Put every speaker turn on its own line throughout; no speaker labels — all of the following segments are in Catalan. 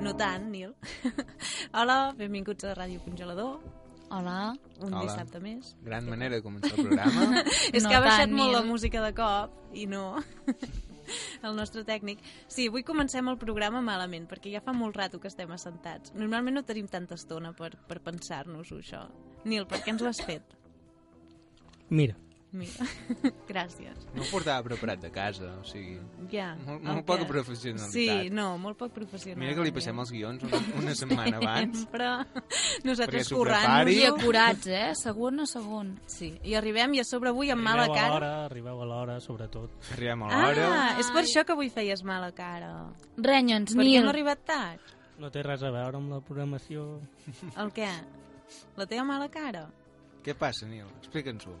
No tant, Nil. Hola, benvinguts a Ràdio Congelador,
Hola.
un
Hola.
dissabte més.
Gran manera de començar el programa.
És
No
que ha baixat
tant,
molt
Nil.
la música de cop i no... el nostre tècnic. Sí, avui comencem el programa malament, perquè ja fa molt rato que estem assentats. Normalment no tenim tanta estona per, per pensar-nos-ho, això. Nil, per què ens ho has fet?
Mira,
Mira. Gràcies.
No ho portava preparat de casa, o sigui...
Ja.
Molt-
el
molt poca professionalitat.
Sí, no, molt poc professional.
Mira que li
també.
passem els guions una, una setmana abans.
Sempre.
Perquè
Nosaltres
s'ho prepari.
I
Diu-
currant-nos-ho.
acurats, eh? Segon a segon.
Sí, i arribem i a sobre avui amb mala
arribeu a
cara.
l'hora, arribeu a l'hora, sobretot.
Arribem a l'hora.
Ah, és per això que avui feies mala cara.
Renya'ns,
Per què
Nil.
hem arribat tard?
No té res a veure amb la programació.
El què? La teva mala cara?
Què passa, Nil? Explica'ns-ho.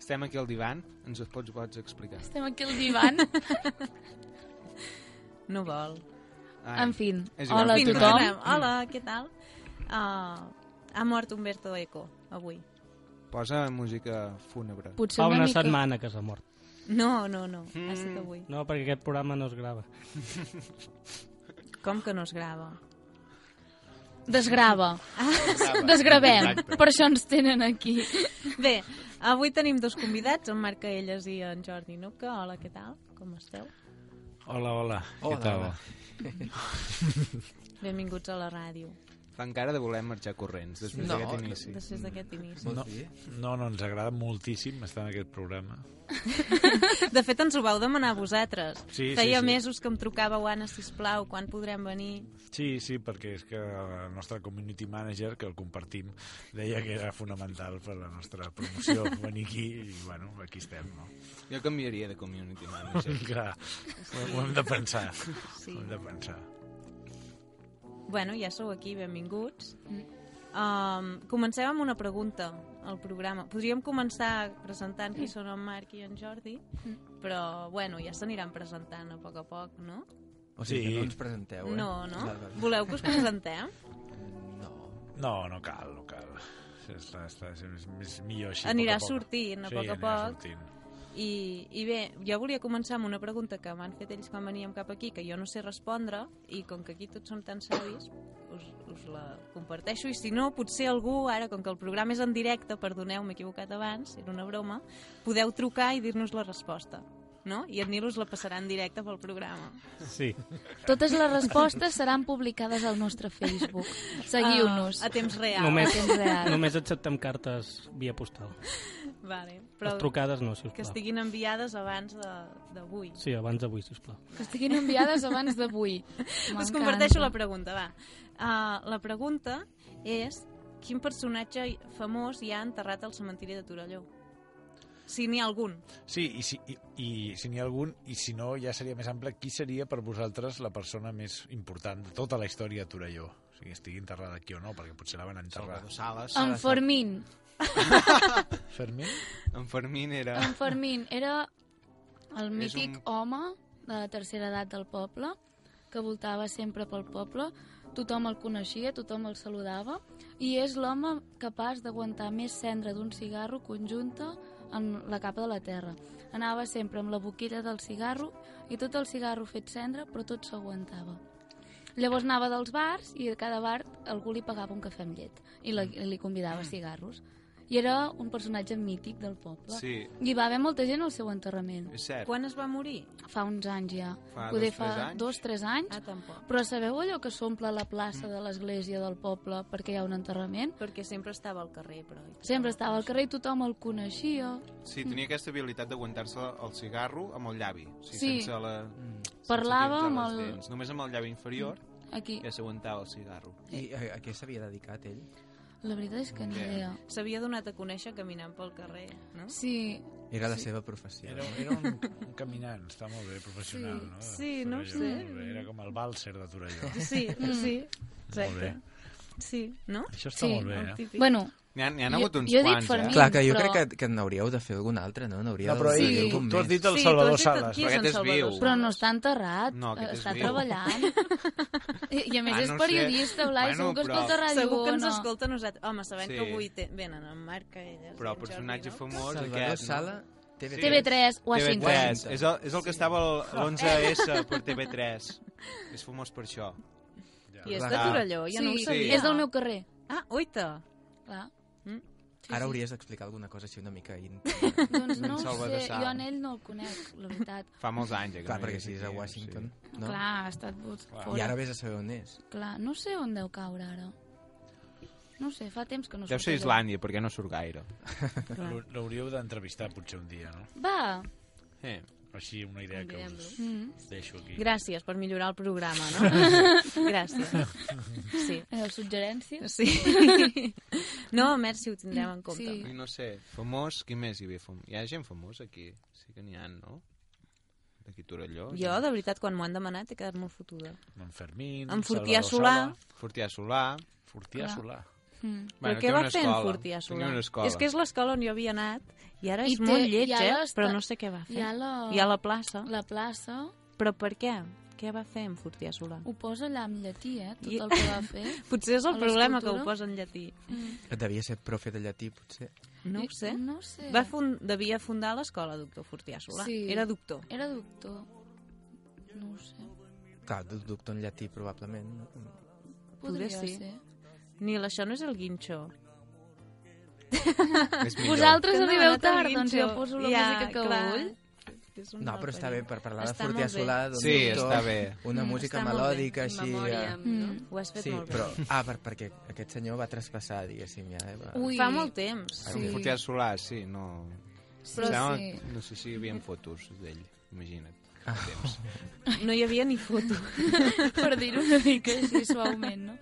Estem aquí al divan, ens ho pots, pots explicar.
Estem aquí al divan.
No vol.
Ai,
en fi,
És igual.
hola a
En fi,
tothom.
tornem. Hola, què tal? Uh, ha mort Humberto Eco, avui.
Posa música fúnebre.
Potser
Fa
una,
una
mica...
setmana que s'ha mort.
No, no, no,
Mm.
ha estat avui.
No, perquè aquest programa no es grava.
Com que no es grava?
Desgrava. Desgravem. Per això ens tenen aquí.
Bé, avui tenim dos convidats, en Marc Elles i en Jordi Nuca. Hola, què tal? Com esteu?
Hola, hola. Què tal?
Benvinguts a la ràdio,
Fan cara de voler marxar corrents després
No,
d'aquest inici.
després d'aquest inici.
No, no, no, ens agrada moltíssim estar en aquest programa.
De fet, ens ho vau demanar vosaltres.
Sí, sí,
Feia
sí.
mesos que em trucàveu, Anna, sisplau, quan podrem venir?
Sí, sí, perquè és que la nostra community manager, que el compartim, deia que era fonamental per la nostra promoció venir aquí i, bueno, aquí estem, no?
Jo canviaria de community manager.
Clar, ho, ho hem de pensar,
Sí.
ho hem de pensar.
Bueno, ja sou aquí, benvinguts. Um, comencem amb una pregunta al programa. Podríem començar presentant qui són en Marc i en Jordi, però bueno, ja s'aniran presentant a poc a poc, no?
O sigui,
Sí.
que no ens presenteu, eh?
No, no?
Vale, vale.
Voleu que us presentem?
No.
No, no cal, no cal. Està, està, és, és millor així. a
Anirà
poc a poc.
sortint a
sí,
poc a
anirà
poc.
Sortint.
I, I bé, jo volia començar amb una pregunta que m'han fet ells quan veníem cap aquí, que jo no sé respondre, i com que aquí tots som tan savis, us, us la comparteixo, i si no, potser algú, ara, com que el programa és en directe, perdoneu, m'he equivocat abans, era una broma, podeu trucar i dir-nos la resposta, no? I en Nil us la passarà en directe pel programa.
Sí.
Totes les respostes seran publicades al nostre Facebook. Seguiu-nos.
Ah, a temps real.
Només,
Temps real.
només acceptem cartes via postal.
Vale,
Però...
però
Les trucades no, sisplau.
que estiguin enviades abans de- d'avui.
Sí, abans d'avui, sisplau.
Que estiguin enviades abans d'avui.
Us
M'encanta.
comparteixo la pregunta, va. Uh, la pregunta és quin personatge hi- famós hi ha enterrat al cementiri de Torelló? Si n'hi ha algun.
Sí, i si i- i si n'hi ha algun, i si no, ja seria més ample, qui seria per vosaltres la persona més important de tota la història de Torelló? O sigui, estigui enterrada aquí o no, perquè potser la van enterrar.
Salvador Sales.
En Fermín.
Fermín?
En Fermín era...
En Fermín era el
És
mític
un-
home de la tercera edat del poble que voltava sempre pel poble, tothom el coneixia, tothom el saludava i és l'home capaç d'aguantar més cendra d'un cigarro conjunta en la capa de la terra. Anava sempre amb la boquilla del cigarro i tot el cigarro fet cendra, però tot s'aguantava. Llavors anava dels bars i a cada bar algú li pagava un cafè amb llet i la, li convidava cigarros. i era un personatge mític del poble.
Sí,
I va haver molta gent al seu enterrament.
és cert.
Quan es va morir?
Fa uns anys ja.
Fa
Poder
dos,
fa
tres anys.
dos, tres anys.
Ah, tampoc.
Però sabeu allò que s'omple la plaça de l'església del poble perquè hi ha un enterrament?
Perquè sempre estava al carrer, però...
Ah,
Sempre estava al carrer i tothom el coneixia.
Sí, tenia aquesta habilitat d'aguantar-se el cigarro amb el llavi. O sigui,
Sí.
Sense la... sense
Parlava
utilitzar
amb
les
el- Mm.
dents. Només amb el llavi inferior
Aquí.
ja s'aguantava el cigarro.
I a, a què s'havia dedicat ell?
La veritat és que ni
Bé.
idea.
S'havia donat a conèixer caminant pel carrer, no?
Sí,
Era la seva professió.
Era, era un, un caminant, està molt bé, professional,
Sí,
sí, no
no?
ho
Torelló,
sé.
molt bé, Era com el Balser de Torelló.
Sí,
Mm.
sí.
Molt bé.
Exacte. Sí, no?
Això està
Sí,
molt bé,
El
eh?
típic.
bueno,
N'hi ha, n'hi ha
Jo-
hagut uns
jo he dit
quants,
per mi.
eh?
Clar, que jo
Però-
crec que, que n'hauríeu de fer algun altre, no? N'hauríeu
No, però
de
ell-
fer
Sí.
algun
tu has
més.
dit el
sí,
Salvador
tu has dit
Sales.
Qui és
Però
en
aquest és
Salvador
viu.
però no
Sales?
està enterrat,
No, aquest
eh,
és
està
viu.
treballant. I, I a més
Ah,
és
no sé.
periodista, Blai,
Bueno,
segur que
però-
escolta Ràdio
Segur que ens
Ona.
escolta a nosaltres. Home, sabent
Sí.
que avui té... venen en Marc Elles.
Però el personatge famós
Salvador
aquest... no?
Sala, TV3.
TV3, Washington.
TV3. És el, és el que estava el-
Oh.
l'11S per TV3. És famós per això.
I és de
Ah.
Torelló, jo no ho
Sí,
sabia.
és del meu carrer.
Ah, oita!
Clar.
Mm.
Sí,
Ara
sí.
hauries d'explicar alguna cosa així una mica íntima.
Doncs
En
no ho
Salvador
sé,
Sala.
jo en ell no el conec, la veritat.
Fa molts anys. eh, que
Clar,
no
perquè
és
si és a
aquí,
Washington,
sí.
no?
Clar, ha estat but fora.
I ara vés a saber on és.
Clar, no sé on deu caure ara. No ho sé, fa temps que no
Deu
surt
ser
allò.
Islàndia, perquè no surt gaire.
L'hau- L'hauríeu d'entrevistar potser un dia, no?
Va.
Eh.
Així una idea que us
Mm.
deixo aquí.
Gràcies per millorar el programa, no? Gràcies. Sí.
Eh, suggerències?
Sí. No, merci, ho tindrem en compte.
Sí.
I no sé, famós, qui més hi havia famós? Hi ha gent famosa aquí? Sí que n'hi ha, no? D'aquí a Torelló.
Jo, de veritat, quan m'ho han demanat he quedat molt fotuda.
En Fermín,
En Fortià
Salvador
Solà.
Sala.
Fortià Solà.
Fortià
Clar.
Solà.
Mm.
Però
Bueno,
què
té
va
una
fer en
escola.
Fortià Solà?
Tenia una escola.
És que és l'escola on jo havia anat i ara
I
és
té-
molt
i
lleig,
ara
eh?
està-
Però no sé què va fer.
Hi ha la...
I a la plaça.
la plaça
Però per què? Què va fer en Fortià Solà?
ho posa allà amb llatí, eh? Tot
I-
el que va fer.
Potser és
A
el problema que ho
l'escultura?
posa en llatí.
Devia ser profe de llatí, potser.
No ho sé.
No ho sé.
Va fund... Devia fundar l'escola doctor Fortià Solà.
Sí.
Era doctor.
Era doctor. No ho sé.
Clar, du- doctor en llatí, probablement. no?
Podria
Poder sí.
ser.
Nil, això no és el guinxó.
És millor.
Vosaltres
Que no,
arribeu
no te'l
tard, doncs
guinxo.
jo poso la
Ja,
música que
clar.
vull.
És un
No, però està bé,
paper.
per parlar
Està
de Fortià
molt bé.
Solà, d'un
Sí,
doctor,
està bé.
una
Mm,
música
Està molt bé.
melòdica, així...
Memòria,
eh,
no?
Mm.
Ho has fet
Sí,
molt bé.
però... Ah, per, perquè aquest senyor va traspassar, diguéssim, ja. eh, Va...
Ui,
Fa molt temps.
Sí.
Sí.
Fortià Solà, sí, no...
Però
Sembla-
sí.
No sé si hi havia fotos d'ell, imagina't. Ah. Temps.
No hi havia ni foto.
per dir-ho una mica així suaument, no?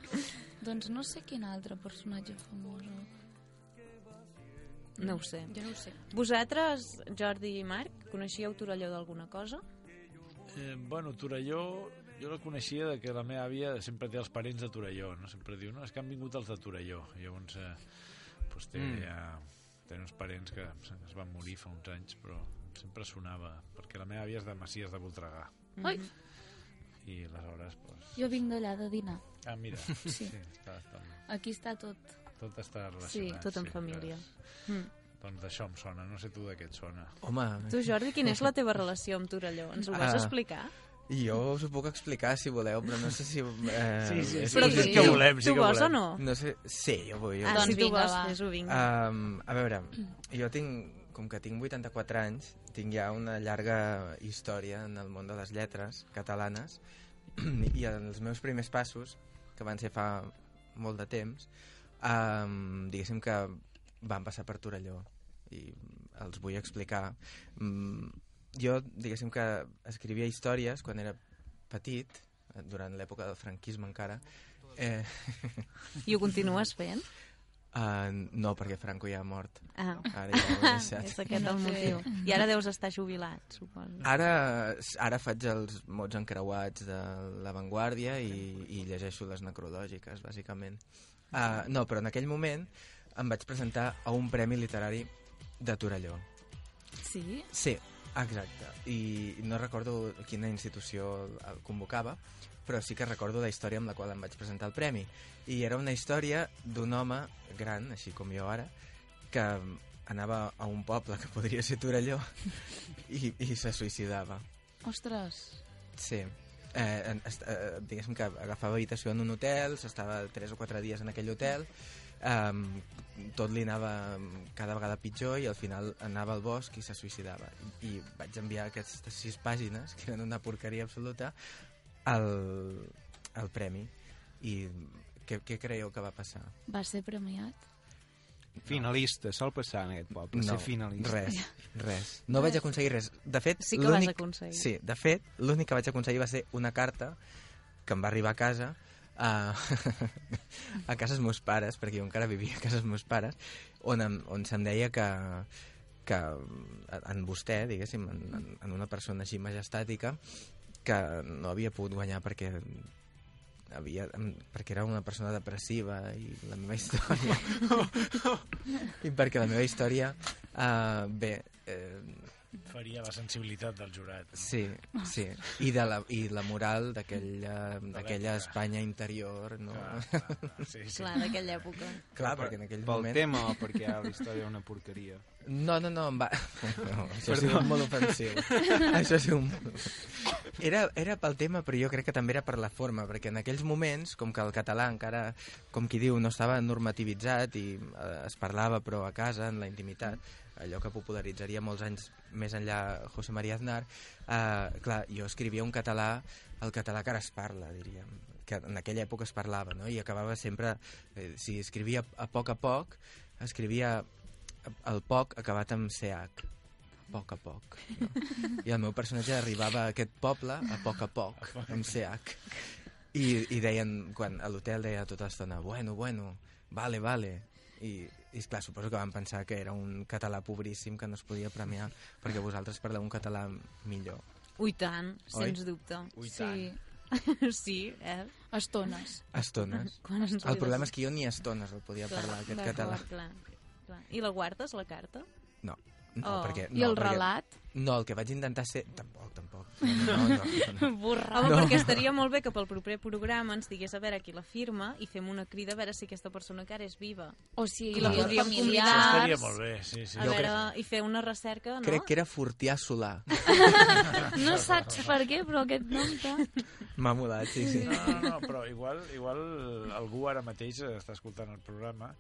Doncs no sé quin altre personatge famós.
No ho sé.
Jo no ho sé.
Vosaltres, Jordi i Marc, coneixíeu Torelló d'alguna cosa?
Eh, bueno, Torelló, jo la coneixia de que la meva àvia sempre té els parents de Torelló, no? Sempre diu, no, és que han vingut els de Torelló. I llavors, eh, doncs té,
Mm.
mm. ja, té uns parents que se- es van morir fa uns anys, però sempre sonava, perquè la meva àvia és de Macies de Voltregà.
Ai,
I aleshores, doncs...
jo vinc d'allà de dinar.
Ah, mira, sí, sí està, està,
Aquí està tot.
tot està relacionat.
tot en família. Mm.
Clar. Doncs d'això em sona, no sé tu de què et sona.
Home,
Tu, Jordi, quina és la teva relació amb Torelló? Ens ho vas
Ah.
explicar?
jo us ho puc explicar, si voleu, però no sé si... Eh, és
Però
positiu.
sí
que volem, sí
tu
que
vols o
volem.
no?
No sé... Sí, jo vull. Mm, Jo
Ah, si
vull.
Doncs
tu
vinga,
vols,
va.
fes-ho, vinga.
Um, a veure, jo tinc, com que tinc 84 anys, tinc ja una llarga història en el món de les lletres catalanes i els meus primers passos, que van ser fa molt de temps, um, diguéssim que van passar per Torelló i els vull explicar. Mm, jo, diguéssim que escrivia històries quan era petit, eh, durant l'època del franquisme encara, eh,
I ho continues fent?
uh, no, perquè Franco ja ha mort.
Ah,
Ara ja ho he deixat.
és aquest el
No sé.
motiu. I ara deus estar jubilat, suposo.
Ara, ara faig els mots encreuats de l'avantguàrdia i, i llegeixo les necrològiques, bàsicament. Uh, no, però en aquell moment em vaig presentar a un premi literari de Torelló.
Sí?
Sí, exacte. I no recordo quina institució el convocava, però sí que recordo la història amb la qual em vaig presentar el premi. I era una història d'un home gran, així com jo ara, que anava a un poble que podria ser Torelló i, i se suïcidava.
Ostres,
Sí. Eh, en- est- eh, diguéssim que agafava habitació en un hotel, s'estava 3 o 4 dies en aquell hotel, um, tot li anava mm, cada vegada pitjor i al final anava al bosc i se suïcidava. I, i vaig enviar aquestes sis pàgines, que eren una porqueria absoluta, al, al premi. I què, què creieu que va passar?
Va ser premiat.
Finalista, sol passar en aquest poble, ser finalista.
Res, res. No vaig aconseguir res. De fet,
Sí que vas
l'únic-
aconseguir.
Sí, de fet, l'únic que vaig aconseguir va ser una carta que em va arribar a casa a, a casa dels meus pares, perquè jo encara vivia a casa dels meus pares, on, em, on se'm deia que, que en vostè, diguéssim, en, en, en una persona així majestàtica, que no havia pogut guanyar perquè havia, em- perquè era una persona depressiva i la meva història i perquè la meva història eh, bé eh,
Faria la sensibilitat del jurat.
Sí, sí. I, de la, i la moral eh, d'aquella d'aquella Espanya interior, no?
Clar,
Clar,
clar, clar. Sí, sí.
Clar, d'aquella època.
perquè en aquell
pel
moment...
tema o perquè ara la història era una porqueria?
No, no, no, em va... No, això ha sigut molt ofensiu. això ha sigut molt... Era, era pel tema, però jo crec que també era per la forma, perquè en aquells moments, com que el català encara, com qui diu, no estava normativitzat i eh, es parlava, però a casa, en la intimitat, allò que popularitzaria molts anys més enllà José María Aznar, eh, clar, jo escrivia un català, el català que ara es parla, diríem, que en aquella època es parlava, no? I acabava sempre, eh, si escrivia a poc a poc, escrivia el poc acabat amb CH a poc a poc no? i el meu personatge arribava a aquest poble a poc a poc, amb CH i, i deien, quan a l'hotel deia tota l'estona, bueno, bueno vale, vale i, i esclar, suposo que van pensar que era un català pobríssim que no es podia premiar perquè vosaltres parleu un català millor
Ui, tant, sens dubte.
Ui,
sí,
Sí, eh?
estones.
estones
Quan ens
el problema és que jo ni a estones el podia parlar aquest
d'acord,
català
Clar, clar. I la guardes, la carta?
no, no
Oh.
perquè
I
no,
el
perquè-
relat,
no, el que vaig intentar ser tampoc, tampoc no, no, no, no, no.
borrar.
Home,
No.
no. perquè estaria molt bé que pel proper programa ens digués a veure qui la firma i fem una crida a veure si aquesta persona encara és viva.
O sigui,
I la podríem
familiars.
Això
convidar.
estaria molt bé, sí, sí.
A
Jo
veure, i fer una recerca, no?
Crec que era Fortià Solà.
No saps per què, però aquest nom t'ha...
M'ha molat, sí, sí.
No, no, no, però igual, igual algú ara mateix està escoltant el programa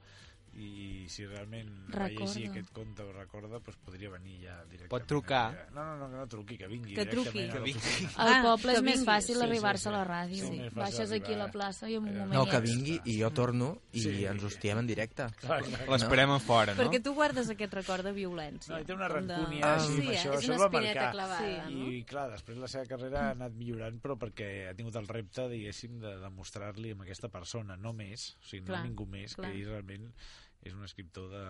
i si realment va
Recorda.
llegir aquest conte o recorda, doncs podria venir ja directament. Eh,
Pot trucar.
No, no, no, que no truqui, que vingui
Que truqui.
directament. a
Que
l'oficina.
Al
Ah,
poble
que
és més
vinguis.
fàcil
Sí,
arribar-se
sí,
a la
sí.
ràdio.
Sí, més fàcil
Baixes aquí a la
arribar. Eh,
plaça i en un
No,
moment...
No,
ja
que
ets.
vingui i jo torno i
Sí.
ens hostiem en directe.
Clar, clar, clar.
L'esperem a fora, no?
Perquè tu guardes aquest record de violència.
No, i té una
com de-
rancúnia ah,
Sí,
sí, amb
eh?
això,
És
això
una
el va
espineta
marcar.
clavada,
I,
no?
I clar, després la seva carrera ha anat millorant, però perquè ha tingut el repte, diguéssim, de demostrar-li amb aquesta persona, no més, o sigui, clar,
Clar,
no ningú més, clar.
clar.
que ell realment és un escriptor de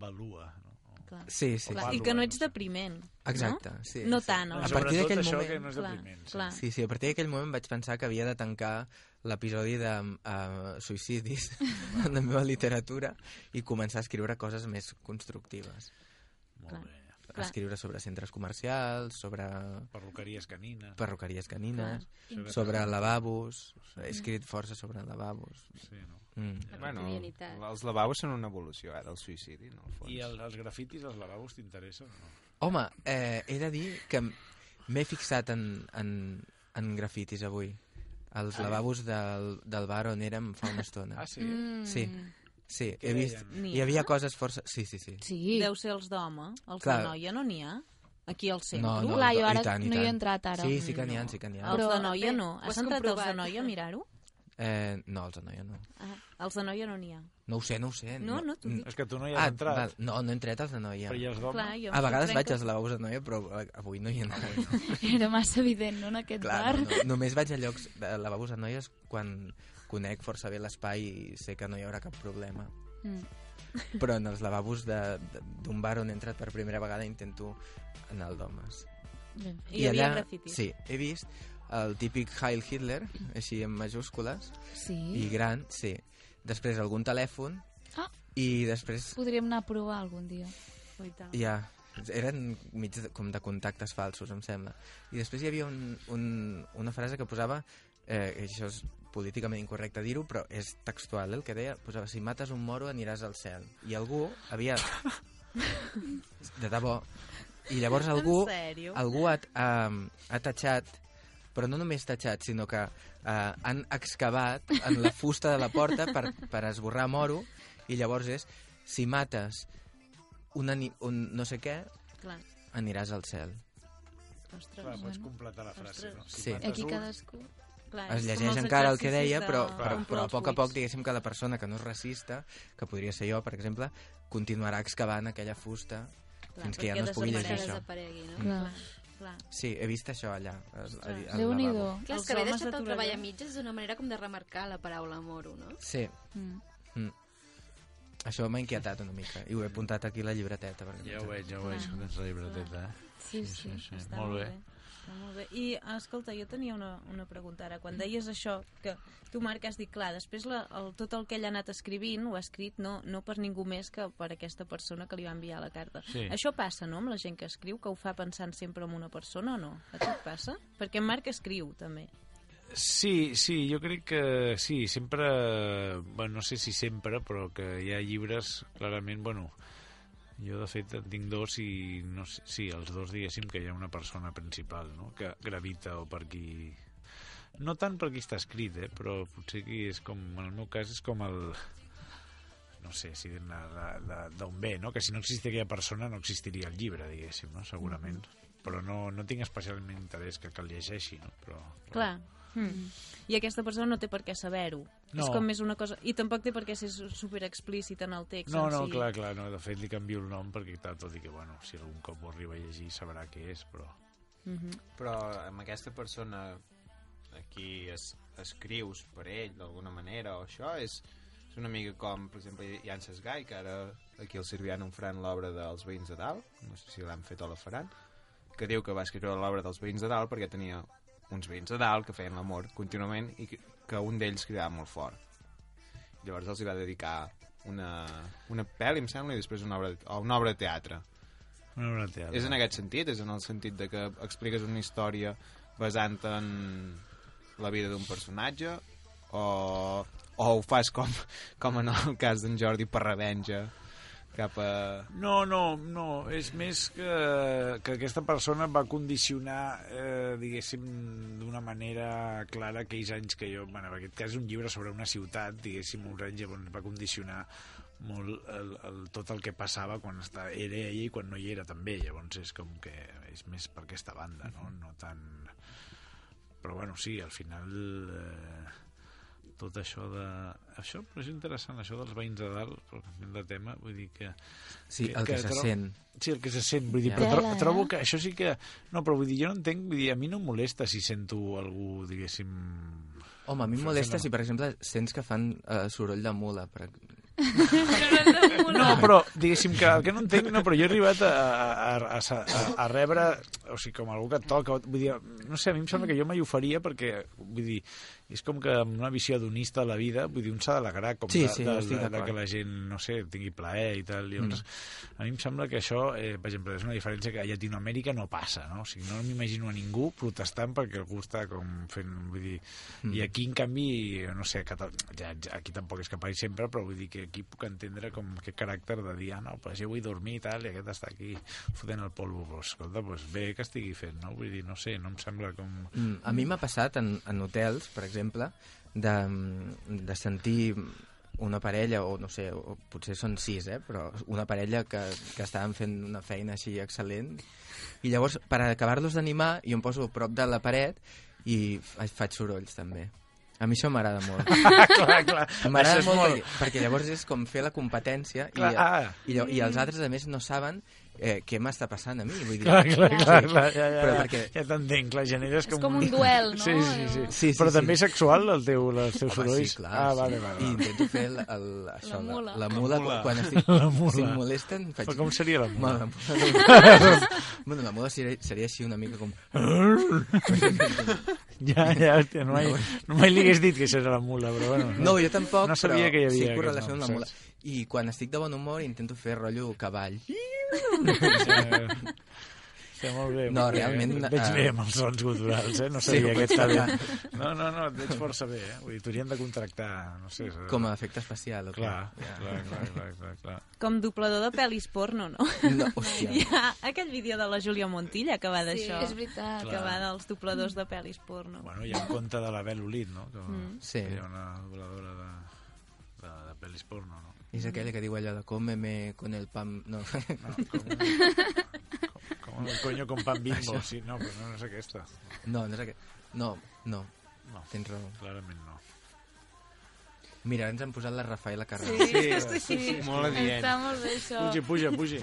valua, no?
Clar.
Sí, sí.
Clar, I que no ets depriment.
Exacte,
No?
sí,
No
sí.
tant,
No,
no?
A
sobretot
partir d'aquell
això
moment-
que no és
clar,
depriment. Sí.
clar.
Sí, sí, a partir d'aquell moment vaig pensar que havia de tancar l'episodi de uh, suïcidis en la meva literatura i començar a escriure coses més constructives.
Molt
Clar.
bé.
Clar.
Escriure sobre centres comercials, sobre
Perruqueries canines.
perruqueries canines,
Clar.
sobre lavabos...
Mm.
He escrit força sobre lavabos.
Sí, no?
Mm.
Bueno,
quotidianitat.
els lavabos són una evolució, eh, del suïcidi, en el fons.
I
Doncs.
el, els grafitis, els lavabos, t'interessen? o No?
Home, eh, he de dir que m- m'he fixat en, en, en grafitis avui. Els lavabos del, del bar on érem fa una estona.
Ah, sí?
Mm.
Sí, sí,
Què
he vist.
deien?
N'hi
Hi
ha?
havia coses força... Sí, sí, sí.
Sí.
Deu ser els d'home, els
Clar.
de noia no n'hi ha. Aquí al centre.
No, no,
Clar,
i
jo
ta-
ara
i tant, i
no hi he
tant.
entrat ara.
Sí, sí que n'hi ha, sí que n'hi ha.
Els de
Però,
noia
bé,
no.
ho
Has
has
entrat els de
comprovat.
noia a mirar-ho?
Eh, no, els de noia no.
Ah, els de noia no n'hi ha.
No ho sé, no ho sé.
No, no, t'ho dic.
És que tu no hi has
Ah,
entrat,
val, no, no he entrat els de noia.
però hi has d'home.
Clar, jo em
A vegades
sorprenc
vaig
que-
als lavabos de noia, però eh, avui no hi he anat.
Era massa evident, no, en aquest
Clar,
bar.
no, no. només vaig a llocs de lavabos de noies quan conec força bé l'espai i sé que no hi haurà cap problema.
Mm.
Però en els lavabos de- de- d'un bar on he entrat per primera vegada intento anar al d'homes.
Ben fet.
I hi havia grafitis.
Sí, he vist el típic Heil Hitler, així en majúscules, i
Sí.
gran, sí. Després algun telèfon,
Ah.
i després
Podríem anar a provar algun dia.
Ui, tant.
ja, eren mig de, com de contactes falsos, em sembla. I després hi havia un, un, una frase que posava, eh, que això és políticament incorrecte dir-ho, però és textual, eh, el que deia, posava, si mates un moro aniràs al cel. I algú havia... de debò. I llavors algú,
En sèrio?
algú ha, ha, ha tatxat però no només tatxat, sinó que eh, han excavat en la fusta de la porta per, per esborrar moro I llavors és, si mates un, ani- un no sé què,
Clar,
aniràs al cel.
ostres.
Clar, pots
bueno.
completar la frase, no?
Sí.
mates
Aquí
un,
cadascú...
Mm.
clar,
Es
Ah, és com
llegeix
els
encara el que
exercicis
deia,
de-
però,
de
però,
complir
però a
els
poc a
buits.
poc, diguéssim que la persona que no és racista, que podria ser jo, per exemple, continuarà excavant aquella fusta
Clar,
fins que ja
perquè
no es pugui llegir
desapareix-
això.
desaparegui,
Mm.
no?
Clar.
Clar,
Sí, he vist això allà, al, al, al
Déu-n'hi-do.
lavabo.
Clar,
Els
és que haver
homes
deixat el
d'aturar
treball a
allà.
mitges és una manera com de remarcar la paraula moro, no?
Sí,
Mm.
Mm. això m'ha inquietat una mica i ho he apuntat aquí a la llibreteta. Perquè
Ja ho veig, ja ho veig, que tens la llibreteta, eh?
Sí, sí.
sí.
està molt bé. Està molt bé. I, escolta, jo tenia una, una pregunta ara. Quan deies això, que tu, Marc, has dit, clar, després la, el, tot el que ell ha anat escrivint ho ha escrit no, no per ningú més que per aquesta persona que li va enviar la carta.
Sí.
Això passa, no?, amb la gent que escriu, que ho fa pensant sempre en una persona o no? A tu et passa? Perquè en Marc escriu, també.
Sí, sí, jo crec que sí, sempre, bueno, no sé si sempre, però que hi ha llibres, clarament, bueno, jo de fet en tinc dos i no sé, sí, els dos diguéssim que hi ha una persona principal, no?, que gravita o per qui... No tant per qui està escrit, eh, però potser que és com, en el meu cas, és com el no sé, si d'on ve, no? Que si no existiria aquella persona no existiria el llibre, diguéssim, no? Segurament. Però no, no tinc especialment interès que, que el llegeixi, no? Però,
Clar. Mm. I aquesta persona no té per què saber-ho.
No.
És com més una cosa... I tampoc té per què ser su- super explícit en el text.
No,
en
no,
si.
clar, clar, no. De fet, li canvio el nom perquè tal, tot i que, bueno, si algun cop ho arriba a llegir sabrà què és, però...
Mhm.
Però amb aquesta persona aquí es, escrius per ell d'alguna manera o això és, és una mica com, per exemple, Janses Gai, que ara aquí al Sirviano en faran l'obra dels veïns de dalt, no sé si l'han fet o la faran, que diu que va escriure l'obra dels veïns de dalt perquè tenia uns veïns de dalt que feien l'amor contínuament i que, que un d'ells cridava molt fort. Llavors els hi va dedicar una, una pel·li, em sembla, i després una obra, o una obra de teatre.
Una obra de teatre.
És en aquest sentit, és en el sentit de que expliques una història basant en la vida d'un personatge o, o ho fas com, com en el cas d'en Jordi per revenja cap a...
No, no, no, és més que, que aquesta persona va condicionar, eh, diguéssim, d'una manera clara aquells anys que jo... Bueno, en aquest cas és un llibre sobre una ciutat, diguéssim, uns anys on va condicionar molt el, el, tot el que passava quan estava, era ell i quan no hi era també, llavors és com que és més per aquesta banda, no, no tan... Però bueno, sí, al final... Eh, tot això de... Això, però és interessant, això dels veïns de dalt, però canviant de tema, vull dir que...
Sí, el que se
tro-
sent.
Sí, el que se sent, vull dir,
Ja.
però tro
Tela, eh?
trobo que això sí que... No, però vull dir, jo no entenc, vull dir, a mi no em molesta si sento algú, diguéssim...
Home, a mi em
Això
molesta
sembla-
si, per exemple, sents que fan eh, soroll de mula. Per...
No, però diguéssim que el que no entenc, no, però jo he arribat a, a, a, a, a rebre, o sigui, com algú que et toca, o- vull dir, no sé, a mi em sembla que jo mai ho faria perquè, vull dir, és com que amb una visió adonista de la vida, vull dir, un s'ha d'alegrar com
Sí,
de,
sí,
de,
estic
de, de
d'acord.
que la gent, no sé, tingui plaer i tal, llavors, a mi em sembla que això, eh, per exemple, és una diferència que a Llatinoamèrica no passa, no? O sigui, no m'imagino a ningú protestant perquè algú està com fent, vull dir... Mm. I aquí, en canvi, no sé, a Catalu- ja, ja, aquí tampoc és que pari sempre, però vull dir que aquí puc entendre com aquest caràcter de dir, ah, no, però jo vull dormir i tal, i aquest està aquí fotent el polvo. Pues, escolta, pues bé que estigui fent, no? Vull dir, no sé, no em sembla com...
Mm, A mi m'ha passat en, en hotels, per exemple, de, mm, de sentir una parella, o no sé, o potser són sis, eh? però una parella que, que estaven fent una feina així excel·lent, i llavors, per acabar-los d'animar, jo em poso a prop de la paret i fa- faig sorolls, també. A mi això m'agrada molt.
clar, clar, això
M'agrada
és
molt, perquè, perquè llavors és com fer la competència i,
Clar, ah.
i, llo- i els altres, a més, no saben eh, què m'està passant a mi. Vull dir,
Clar, clar, clar,
Sí.
clar, ja, ja,
Però
ja,
perquè-
ja t'entenc, clar, generes com...
És com un duel, no?
Sí, sí, sí.
Sí, sí,
Però
sí.
també és sexual, el teu, els teus
Home,
sorolls?
sí, clar,
ah,
sí.
vale, vale.
I
vale.
intento fer el, el, això, la
mula.
mula. La, mula, quan estic...
La mula.
Si em molesten, faig...
Però com seria la mula?
Bueno, la mula, bueno, la mula seria, seria així una mica com...
Ja, ja, hòstia, no mai, no mai li hagués dit que això era la mula, però bueno.
No, jo tampoc,
No sabia
però
que hi havia
sí
aquest
correlació amb
nom,
la mula.
saps?
I quan estic de bon humor intento fer rotllo cavall.
Sí, sí, molt bé.
No,
molt bé,
realment,
eh? Et Veig
eh,
bé amb els sons guturals, eh? No
Sí,
sabia
ho
aquest
veig
talent. No, no, no, et veig força bé, eh? Vull dir, t'haurien de contractar, no sé... eh?
Com a efecte especial. o què?
Clar, clar, clar, clar, clar, clar.
Com doblador de pel·lis porno, no?
No, hòstia.
Hi ha aquell vídeo de la Júlia Montilla que va
Sí,
d'això.
és veritat.
que va dels dobladors de pel·lis porno.
Bueno, hi ha un conte
Mm.
de la Bel Olid, no? Que,
Sí.
que hi ha una voladora de, de, de pel·lis porno, no?
És aquella que diu allò de cómeme con el pan... No,
Com el coño con pan bimbo, sí, no, però no, no és aquesta.
no, no és aquella... No, no,
No,
tens raó.
clarament no.
Mira, ens han posat la Rafaela Carrera.
Sí, sí,
sí,
sí. sí.
Molt adient.
Està Ah, molt bé això.
Puja, puja, puja.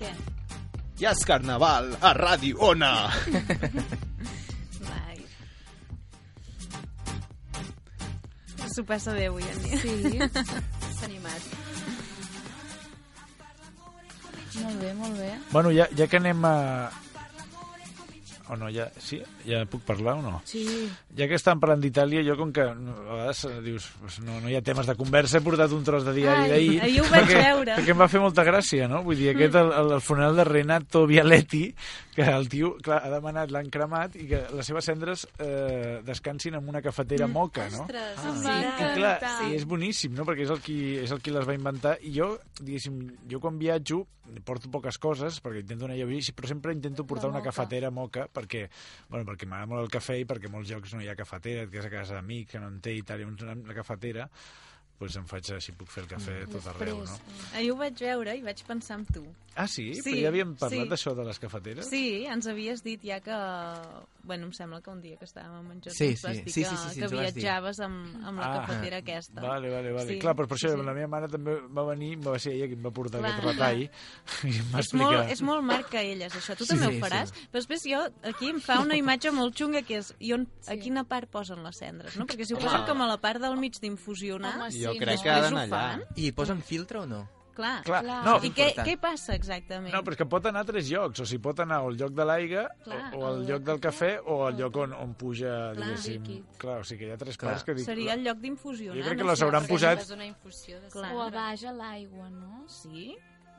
Què?
Ja és carnaval a Ràdio Ona.
Vai. S'ho passa bé avui en dia.
Sí,
S'ha animat.
molt bé, molt bé.
Bueno, ja, ja que anem a... O no, ja, sí? Ja puc parlar o no?
Sí,
Ja que estan parlant d'Itàlia, jo com que no, a vegades eh, dius pues no, no hi ha temes de conversa, he portat un tros de diari
Ai,
d'ahir.
ahir ho vaig
perquè,
veure.
Perquè em va fer molta gràcia, no? Vull dir, aquest, el, el, el funeral de Renato Vialetti, que el tio, clar, ha demanat, l'han cremat, i que les seves cendres eh, descansin en una cafetera moca, no? Ah,
Ostres,
Mm. em
sí.
va
I clar,
encantar.
i és boníssim, no? Perquè és el, qui, és el qui les va inventar. I jo, diguéssim, jo quan viatjo porto poques coses, perquè intento anar a llavir, però sempre intento portar una
moca.
cafetera moca, perquè, bueno, perquè m'agrada molt el cafè i perquè a molts llocs no hi ha cafetera, et quedes a casa d'amics, que no en té i tal, i una, una cafetera, doncs em faig així, puc fer el cafè mm. tot arreu, no?
eh,
Ahir ho vaig veure i vaig pensar en tu.
Ah, sí?
Sí,
Però ja havíem parlat
sí.
d'això de les
Eh?
cafeteres?
Sí, ens havies dit ja que... Bueno, em sembla que un dia que estàvem a menjar
Sí, sí,
vas dir
sí,
que,
sí, sí, sí,
que
ens ho vas dir.
viatjaves amb, amb la
Ah,
cafetera aquesta.
Vale, vale, vale.
Sí,
Clar, però per això
sí, sí.
la meva mare també va venir, va ser ella qui em va portar
Clar,
aquest retall i em va
És
explicar...
molt, és molt marc que elles, això. Tu
Sí,
també
sí,
ho faràs? Però després jo, aquí em fa una imatge molt xunga, que és i on, a quina part posen les cendres, no? Perquè si ho posen com a la part del mig d'infusionar,
home, sí.
Jo crec
no?
que ha d'anar
Després ho
allà.
fan.
I hi posen filtre o no?
clar.
Clar,
Clar.
no,
I què,
Important.
què passa exactament?
No, però és que pot anar a tres llocs, o sigui, pot anar al lloc de l'aigua, o,
Clar,
o al
al
lloc del cafè, o al lloc on, on puja,
Clar,
diguéssim...
líquid.
Clar, o sigui que hi ha tres
Clar.
parts que dic...
Seria el lloc
Jo
d'infusionar.
crec que
no
les
sé.
hauran posat...
Una infusió de
Clar.
clar.
O a baix a l'aigua, no?
Sí?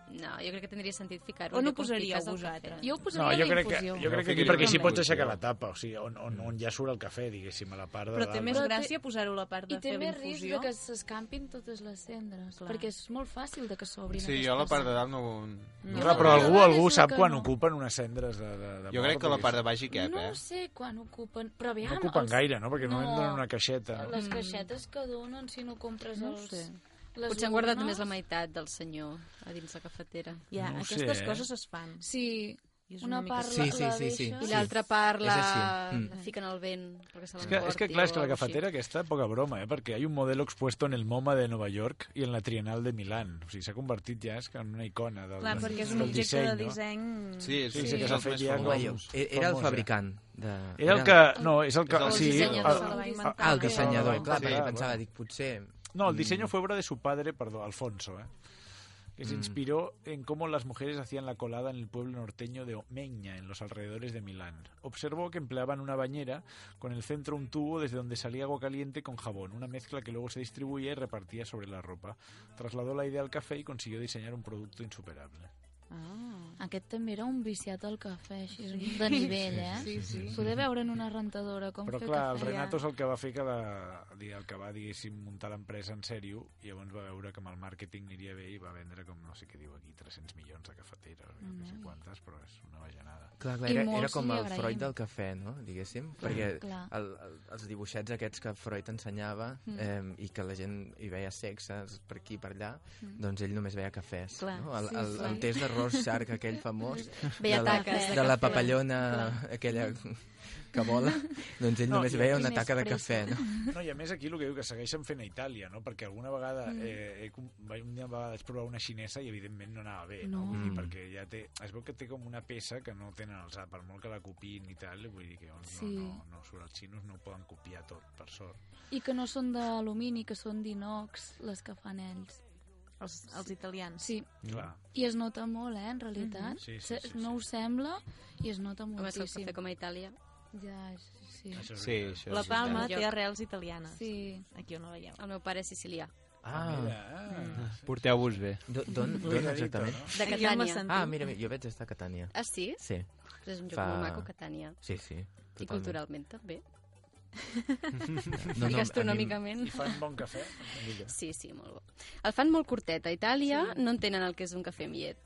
No, jo crec que tindria sentit ficar-ho.
On
allà
ho posaríeu
quan fiques el
vosaltres?
Jo ho
No,
posaria
jo
a la
crec que,
infusió.
jo crec que aquí,
Jo
perquè així
també.
pots
eh?
aixecar la tapa, o sigui, on, on, on ja surt el cafè, diguéssim, a la part de
Però té
dalt.
més
Però té-
gràcia posar-ho a la part
I
de
té
fer
més risc de
l'infusió.
que s'escampin totes les cendres,
Clar.
perquè és molt fàcil de que s'obrin.
Sí,
aquestes
jo a la part
coses.
de dalt no...
No.
Clar,
Jo
però algú,
crec
algú
que
sap quan
no.
ocupen unes cendres de, de, de
Jo crec que la part de baix hi cap,
No
eh?
sé quan ocupen, però aviam...
No ocupen
els-
gaire, no? Perquè no,
No.
donen una caixeta, no?
Les caixetes que donen si no compres
No ho
els...
sé.
Les
Potser han guardat
urnes.
només la meitat del senyor a dins la cafetera.
Ja,
No ho sé,
aquestes
eh?
coses es fan.
Sí,
I és
una
mica-
part
Sí,
la,
sí,
la
sí, sí.
deixes.
I
Sí.
l'altra part la,
És així. Mm.
la fiquen al vent perquè se
Es que, es que
l'emporti
claro, es
o
que la
alguna cosa
cafetera que está, poca broma, ¿eh? porque hay un modelo expuesto en el MoMA de Nueva York y en la Trienal de Milán. O sigui, s'ha convertit ja és que en una icona del,
Clar,
del,
perquè és
del
un objecte
disseny,
de
no?
disseny...
Sí,
Sí,
sí,
sí,
sí,
que
és
s'ha
el
fet
més
ja
famós.
com-
E- Era el
famosa.
fabricant. De...
Era el que... No, és el que...
És el
sí,
dissenyador
el-
se la va
inventar.
Ah, el
que se la va
dissenyador, clar,
inventar,
perquè
bueno.
pensava, dic, potser...
No, el diseño fue obra de su padre, perdón, Alfonso, ¿eh? que se inspiró en cómo las mujeres hacían la colada en el pueblo norteño de Omeña, en los alrededores de Milán. Observó que empleaban una bañera con el centro un tubo desde donde salía agua caliente con jabón, una mezcla que luego se distribuía y repartía sobre la ropa. Trasladó la idea al café y consiguió diseñar un producto insuperable.
Ah.
Aquest també era un viciat al cafè, així, de nivell, eh? Sí, sí. Poder veure en una rentadora com
Però
fer
clar, el
cafè. eh?
Renato és el que va fer que la, di- el que va, diguéssim, muntar l'empresa en sèrio i llavors va veure que amb el màrqueting aniria bé i va vendre com, no sé què diu aquí, 300 milions de cafeteres, o no sé quantes, però és una bajanada.
Clar, clar,
I
era,
molts
era com
li
el
agraïm.
Freud del cafè, no? Diguéssim, perquè
clar.
El, el, els dibuixets aquests que Freud ensenyava mm. eh, i que la gent hi veia sexes per aquí i per allà, mm. doncs ell només veia cafès.
Clar,
no? el,
sí,
el,
sí.
el test de Rorschach, aquell famós,
Veia
de la,
taques de
de la
cafè.
papallona aquella que vola, doncs ell
No,
només
i-
veia
I
una
més
taca de cafè,
pressa.
no?
No, i a més aquí el que diu que segueixen fent a Itàlia, no? Perquè alguna vegada, eh, he, com- vaig- una vegada vaig provar una xinesa i evidentment no anava bé, no?
No.
Vull dir,
Mm.
perquè ja té, es veu que té com una peça que no tenen els per molt que la copiïn i tal, vull dir que llavors
Sí.
no, no, no, sobre els xinos no ho poden copiar tot, per sort.
I que no són d'alumini, que són d'inox, les que fan ells.
Els, els italians.
Sí,
Mm.
Clar.
i es nota molt, eh, en realitat.
Mhm. Sí, sí,
Se-
sí,
no
sí.
ho sembla i es nota
Home, és que el
moltíssim.
cafè com a Itàlia.
Ja, sí.
Això és
Sí,
veritat.
això
La
és
Palma
veritat.
té arrels italianes.
Sí.
Aquí on la veieu.
El meu pare és sicilià.
Ah,
Mira,
Porteu-vos bé.
d'o- d'on d'on exactament?
De
Aquí on la
Catània.
sentim.
Ah, mira, mira, jo vaig estar a Catània.
Ah, sí?
Sí,
Doncs és un lloc
Fa-
molt maco, Catània.
sí, sí.
I
totalment.
culturalment també.
No, no, a mi-
gastronòmicament.
I fan bon cafè?
Sí, sí, molt bo. El fan molt curtet. A Itàlia sí. no entenen el que és un cafè amb llet.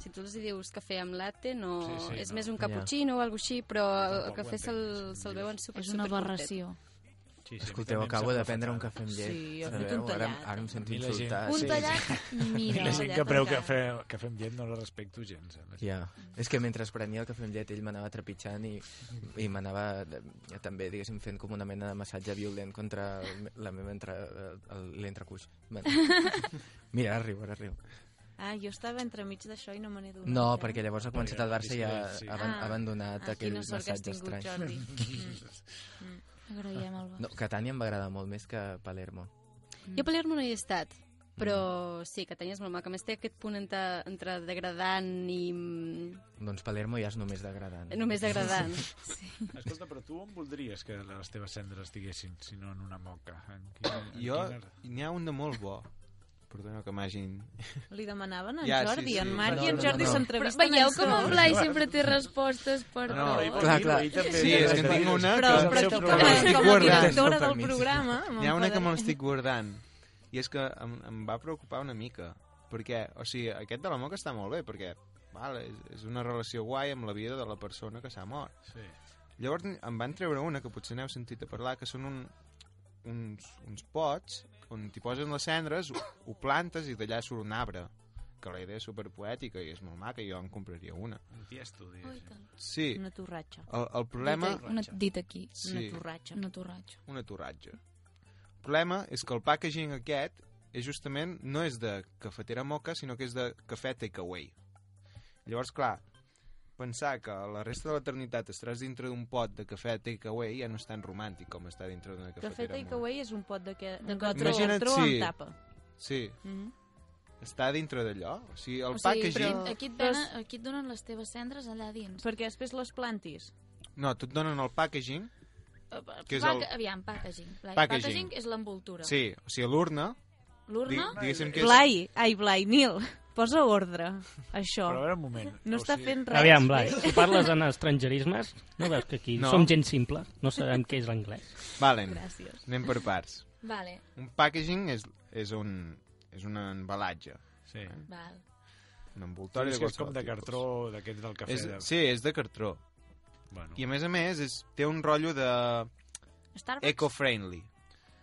Si tu els hi dius cafè amb latte, no...
Sí,
Sí,
sí,
sí, és
no.
no. més un
Ja.
cappuccino o alguna així, però el
Tampoc ho
cafè
entenc,
se'l
és un
se beuen super,
És una
supercurtet.
aberració.
Sí, sí,
Escolteu, acabo de prendre un cafè amb llet.
Sí, ha fet
Sabeu?
un
Ara,
tallat.
ara em sento
A mi la gent-
insultat.
Ah,
Un
sí,
tallat, mira.
La gent que preu
encara.
cafè, cafè amb llet no la respecto gens. Eh?
Ja. És que mentre es prenia el cafè amb llet ell m'anava trepitjant i, i m'anava eh, també, diguéssim, fent com una mena de massatge violent contra el me- la meva entre, eh, el- l'entrecuix. Bueno. Mira, ara riu, ara riu.
Ah, jo estava entremig d'això i no me n'he donat.
No,
eh?
perquè llavors ha començat el Barça i ha, ha aban- ha abandonat
Ah,
aquell
quina sort que has
massatge
tingut,
estrany.
Jordi. Mm.
Agraïm el
No, Catània em va agradar molt més que Palermo.
Jo a Palermo no hi he estat, però sí, que tenies molt maca. A més, té aquest punt entre, entre degradant i... mm,
Doncs Palermo ja és només degradant.
només degradant.
Escolta, però tu on voldries que les teves cendres estiguessin, si no en una moca? En quina, en
Jo,
quina-
n'hi ha un de molt bo. Perdona que m'hagin...
Li demanaven a en
Ja, sí,
Jordi.
sí.
En Marc
No,
i en
no,
Jordi
no.
Però
s'entrevisten
veieu
ells
com el
dos.
Blai sempre té respostes per
No,
tot?
Ell vol
Clar,
dir,
clar.
ell també
Sí,
té
és que
dret a
en tinc
dir-
una
Però,
que...
però
seu
tu, com
programa.
a, com a
Guardant.
directora
Amb
del
permís.
programa...
N'hi ha una que me'l
m'enfadaré.
estic guardant. I és que em, em va preocupar una mica. Perquè, o sigui, aquest de la moca està molt bé, perquè val, és, és una relació guai amb la vida de la persona que s'ha mort.
Sí.
Llavors em van treure una, que potser n'heu sentit a parlar, que són un, uns, uns pots on t'hi posen les cendres, ho, ho plantes i d'allà surt un arbre. Que la idea és superpoètica i és molt maca, i jo en compraria una.
Un tia estudi.
Ui,
sí.
tant.
Sí,
Una torratxa.
el, el problema...
Dit, una, dit aquí,
Una
Sí,
torratxa.
una torratxa.
un aturratge. El problema és que el packaging aquest és justament, no és de cafetera moca, sinó que és de cafè takeaway. Llavors, clar, pensar que la resta de l'eternitat estaràs dintre d'un pot de cafè takeaway ja no és tan romàntic com estar dintre d'una
Cafè
cafetera moca.
Takeaway és un pot de, que,
De
de gatró,
Imagina't,
gatró
sí.
amb tapa.
Sí,
Mhm.
està dintre d'allò. O sigui,
O
el o
sigui,
packaging...
però
Però...
aquí, et donen, aquí et donen les teves cendres allà dins.
Perquè després les plantis.
No, tu et donen el packaging, Què és
Pac-
el-
Eh, Aviam, packaging. Blai.
Packaging.
packaging és l'envoltura.
sí, o sigui, l'urna, di
L'urna...
diguéssim que és...
Blai, ai, Blai, Nil, posa ordre, això.
Però a veure un moment.
No
o
està
sigui,
fent res.
Aviam, Blai, si parles en estrangerismes, no veus que aquí
No.
som gent simple, no sabem què és l'anglès.
Valen,
Gràcies.
anem per parts.
Vale,
Un packaging és, és, un, és un embalatge.
Sí.
val.
un envoltori
Dius
de
que és com
qualsevol
de
tipus.
cartró, d'aquests del cafè.
És,
de...
sí, és de cartró.
Bueno.
I a més a més, és, té un rotllo de
Starbucks?
eco-friendly.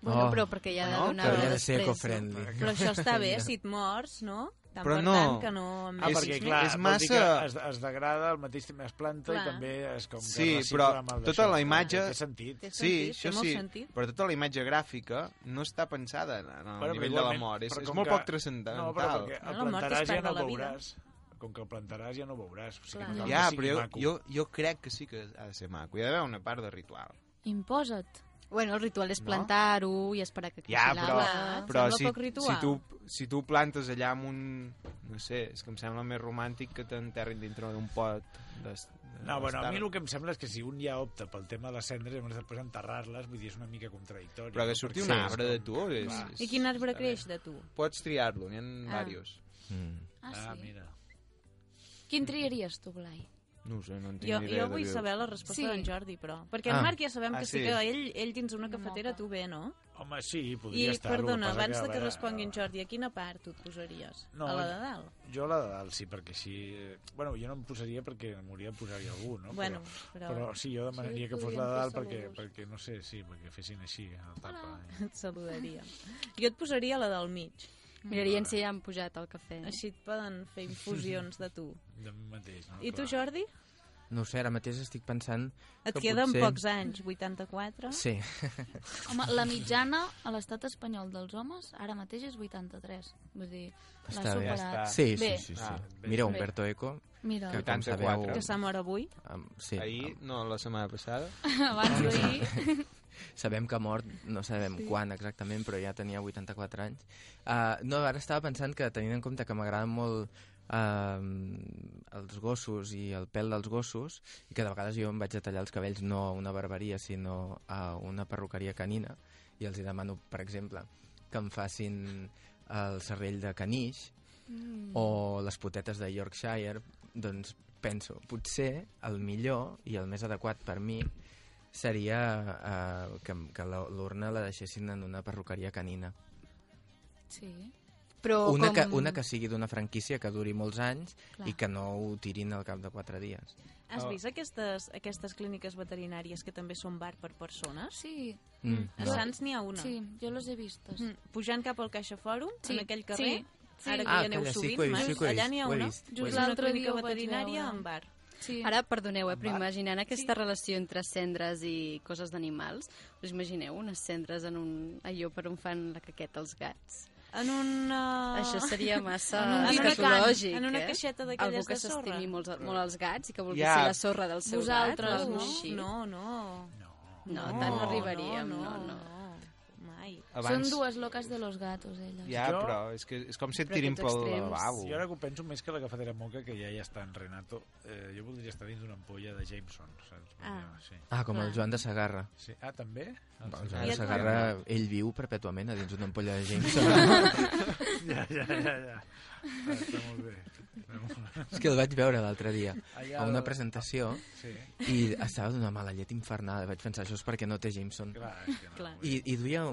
Bueno,
Oh.
però perquè ja ha de
No,
donar
Però
Ara
ja ha de
després.
ser
no?
eco-friendly.
Però això està bé, si et mors, no? Tan
Però
per
no.
tant que no...
Ah,
És-
perquè clar,
és
és
massa-
massa... Que es, es degrada, al mateix temps es planta
Clar.
i també és com que
Sí,
es recicla
però
amb el
tota
d'això.
la imatge-
Té sentit.
Té
Sí,
sentit,
això
té molt
sí,
sentit.
però tota la imatge gràfica no està pensada en en el
Bueno, però
nivell de la
igualment-
mort. És,
però
és
com
molt
que-
poc transcendental.
No, però perquè
No,
el
la mort és
plantaràs ja
part
no
de la vida.
veuràs. Com que el plantaràs ja no veuràs. O sigui,
Clar.
no cal
Ja,
que sigui
però jo,
maco.
jo, jo crec que sí que ha de ser maco. Hi ha d'haver una part de ritual.
Imposa't.
Bueno, el ritual és plantar-ho i esperar que creixi
Ja, però,
l'arbre.
però
sembla
si,
poc ritual.
si, tu, si tu plantes allà amb un... No sé, és que em sembla més romàntic que t'enterrin dintre d'un pot. De, de
No, bueno, a mi
d'estar-
el que em sembla és que si un ja opta pel tema de les cendres, llavors després enterrar-les, vull dir, és una mica contradictori.
Però que
no?
surti
Perquè
un
és
arbre
com-
de tu... És,
Clar.
és...
I quin arbre creix de tu?
Pots triar-lo, n'hi ha ah. diversos.
Mm.
Ah, sí.
Ah, mira.
Quin triaries tu, Blai?
No ho sé, no en tinc
Jo,
ni idea.
jo vull
de
saber la resposta
Sí.
d'en Jordi, però. Perquè
Ah.
en Marc ja sabem
Ah,
que sí
sí.
que ell, ell dins una cafetera
Moca.
tu bé, no?
Home, sí,
I,
podria estar.
perdona, abans de que respongui
responguin
en Jordi, a quina part tu et posaries?
eh, No,
a la
jo-
de dalt?
Jo la de dalt sí, perquè així... Bueno, jo no em posaria perquè m'hauria de posar-hi algú, no?
Bueno,
però,
però...
però sí, jo demanaria
Sí,
que fos la
podríem
de dalt
fer
perquè,
saludos.
perquè, no sé, sí, perquè fessin així a la tapa. eh?
Et saludaria. Jo et posaria la del mig.
Mirarien si ja han pujat al cafè.
Així et poden fer infusions de tu.
De mi mateix, no?
I tu,
Clar.
Jordi?
No ho sé, ara mateix estic pensant...
Et
que
queden
potser-
pocs anys, 84.
Sí.
Home, la mitjana a l'estat espanyol dels homes ara mateix és 83. Vull dir, l'ha
Està bé.
Ja
superat.
està.
Sí, sí,
Bé.
sí. sí.
Ah,
bé.
Mira,
Bé.
Humberto Eco,
Mira,
que com
84.
sabeu...
Que s'ha mort avui.
Um, sí,
Ahir,
em-
no, la setmana passada.
abans d'ahir...
sabem que ha mort, no sabem sí. quan exactament, però ja tenia 84 anys. Uh, no, ara estava pensant que, tenint en compte que m'agraden molt uh, els gossos i el pèl dels gossos, i que de vegades jo em vaig a tallar els cabells no a una barberia, sinó a una perruqueria canina, i els hi demano, per exemple, que em facin el serrell de caniix mm. o les potetes de Yorkshire, doncs penso, potser el millor i el més adequat per mi seria eh, que, que la- l'urna la deixessin en una perruqueria canina.
Sí.
Però
una,
Oh, com...
que, una que sigui d'una franquícia que duri molts anys
Clar.
i que no ho tirin al cap de quatre dies.
Has
Oh.
vist aquestes, aquestes clíniques veterinàries que també són bar per persones?
Sí.
Mm,
a
no.
Sants n'hi ha una.
Sí, jo les he vistes.
Mm, Pujant cap al Caixa Fòrum,
Sí,
en aquell carrer,
sí.
ara que
Ah,
hi aneu
calla, sí que ho he
sovint,
vist,
Marc,
sí que ho he
allà
vist,
n'hi ha
ho he
una,
vist, ho he
just
vist.
una
L'altre dia
clínica
ho vaig
veterinària
veure.
amb bar.
Sí.
Ara, perdoneu, eh, però imaginant aquesta relació entre cendres i coses d'animals, us imagineu unes cendres en un allò per on fan la caqueta els gats?
En una...
Això seria massa
Ah. En una can,
escatològic,
en una
eh?
caixeta d'aquelles
Algú que
de sorra.
s'estimi molt, molt els gats i que vulgui
Ja.
ser la sorra del seu
Vosaltres,
gat.
no?
no?
No, no.
No, tant no arribaríem, no, no.
no. Mai.
Són dues locas de los gatos, elles.
Ja,
Jo-
però és, que, és com si et
Però
tirin
aquests
pel
extrems.
lavabo.
Jo ara que ho penso més que la cafetera moca, que ja hi està en Renato, eh, jo voldria estar dins d'una ampolla de Jameson, saps?
Ah.
Sí.
Ah, com el Joan de Sagarra.
sí. Ah, també?
El
Ah, sí.
Joan
I
de
et-
Sagarra, ell viu perpètuament a dins d'una ampolla de Jameson.
Ja, ja, ja, ja. Ah, Està molt bé. Està molt bé.
És que el vaig veure l'altre dia
Allà
a una
al-
presentació
Sí,
i estava d'una mala llet infernal. I Vaig pensar, això és perquè no té Jameson.
clar, és que no.
Clar.
I, i duia...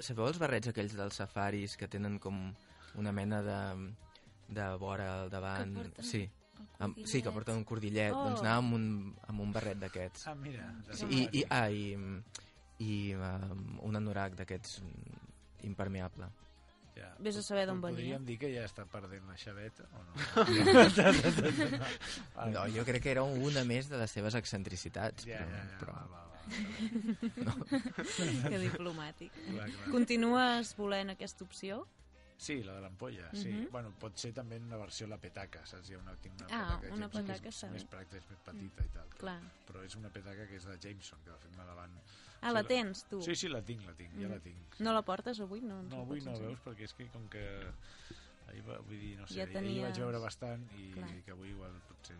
Sabeu els barrets aquells dels safaris que tenen com una mena de, de vora al davant?
Que porten
Sí. Amb, sí, que
cordillet.
porten un cordillet.
Oh.
Doncs anava amb un, amb un barret d'aquests.
Ah, mira. de
Sí, i, i,
Safari.
ah, i, i um, un anorac d'aquests mm, impermeable.
Ja.
Vés a saber d'on venia.
Podríem dir que ja està perdent la xaveta o no? Ah,
No, jo crec que era una més de les seves excentricitats.
Ja, ja, ja.
però,
Va, va, va.
Que diplomàtic.
Clar, clar.
Continues volent aquesta opció?
Sí, la de l'ampolla, sí.
Mhm.
Bueno, pot ser també en una versió la petaca, saps? Hi ha una, tinc
Ah,
una petaca,
una
Jameson,
petaca
que és
està
més
bé.
pràctica, és més petita i tal.
Clar.
Però és una petaca que és de Jameson, que de fet me la van...
Ah, la tens, tu?
Sí, sí, la tinc, la tinc, ja la tinc.
No la portes avui? No, ens
No,
la
avui
pots
no,
ensenyar.
veus, perquè és que com que... Ahir va, vull dir, no sé,
Ja
ahir
tenies-
vaig veure bastant i
Clar.
que avui igual potser,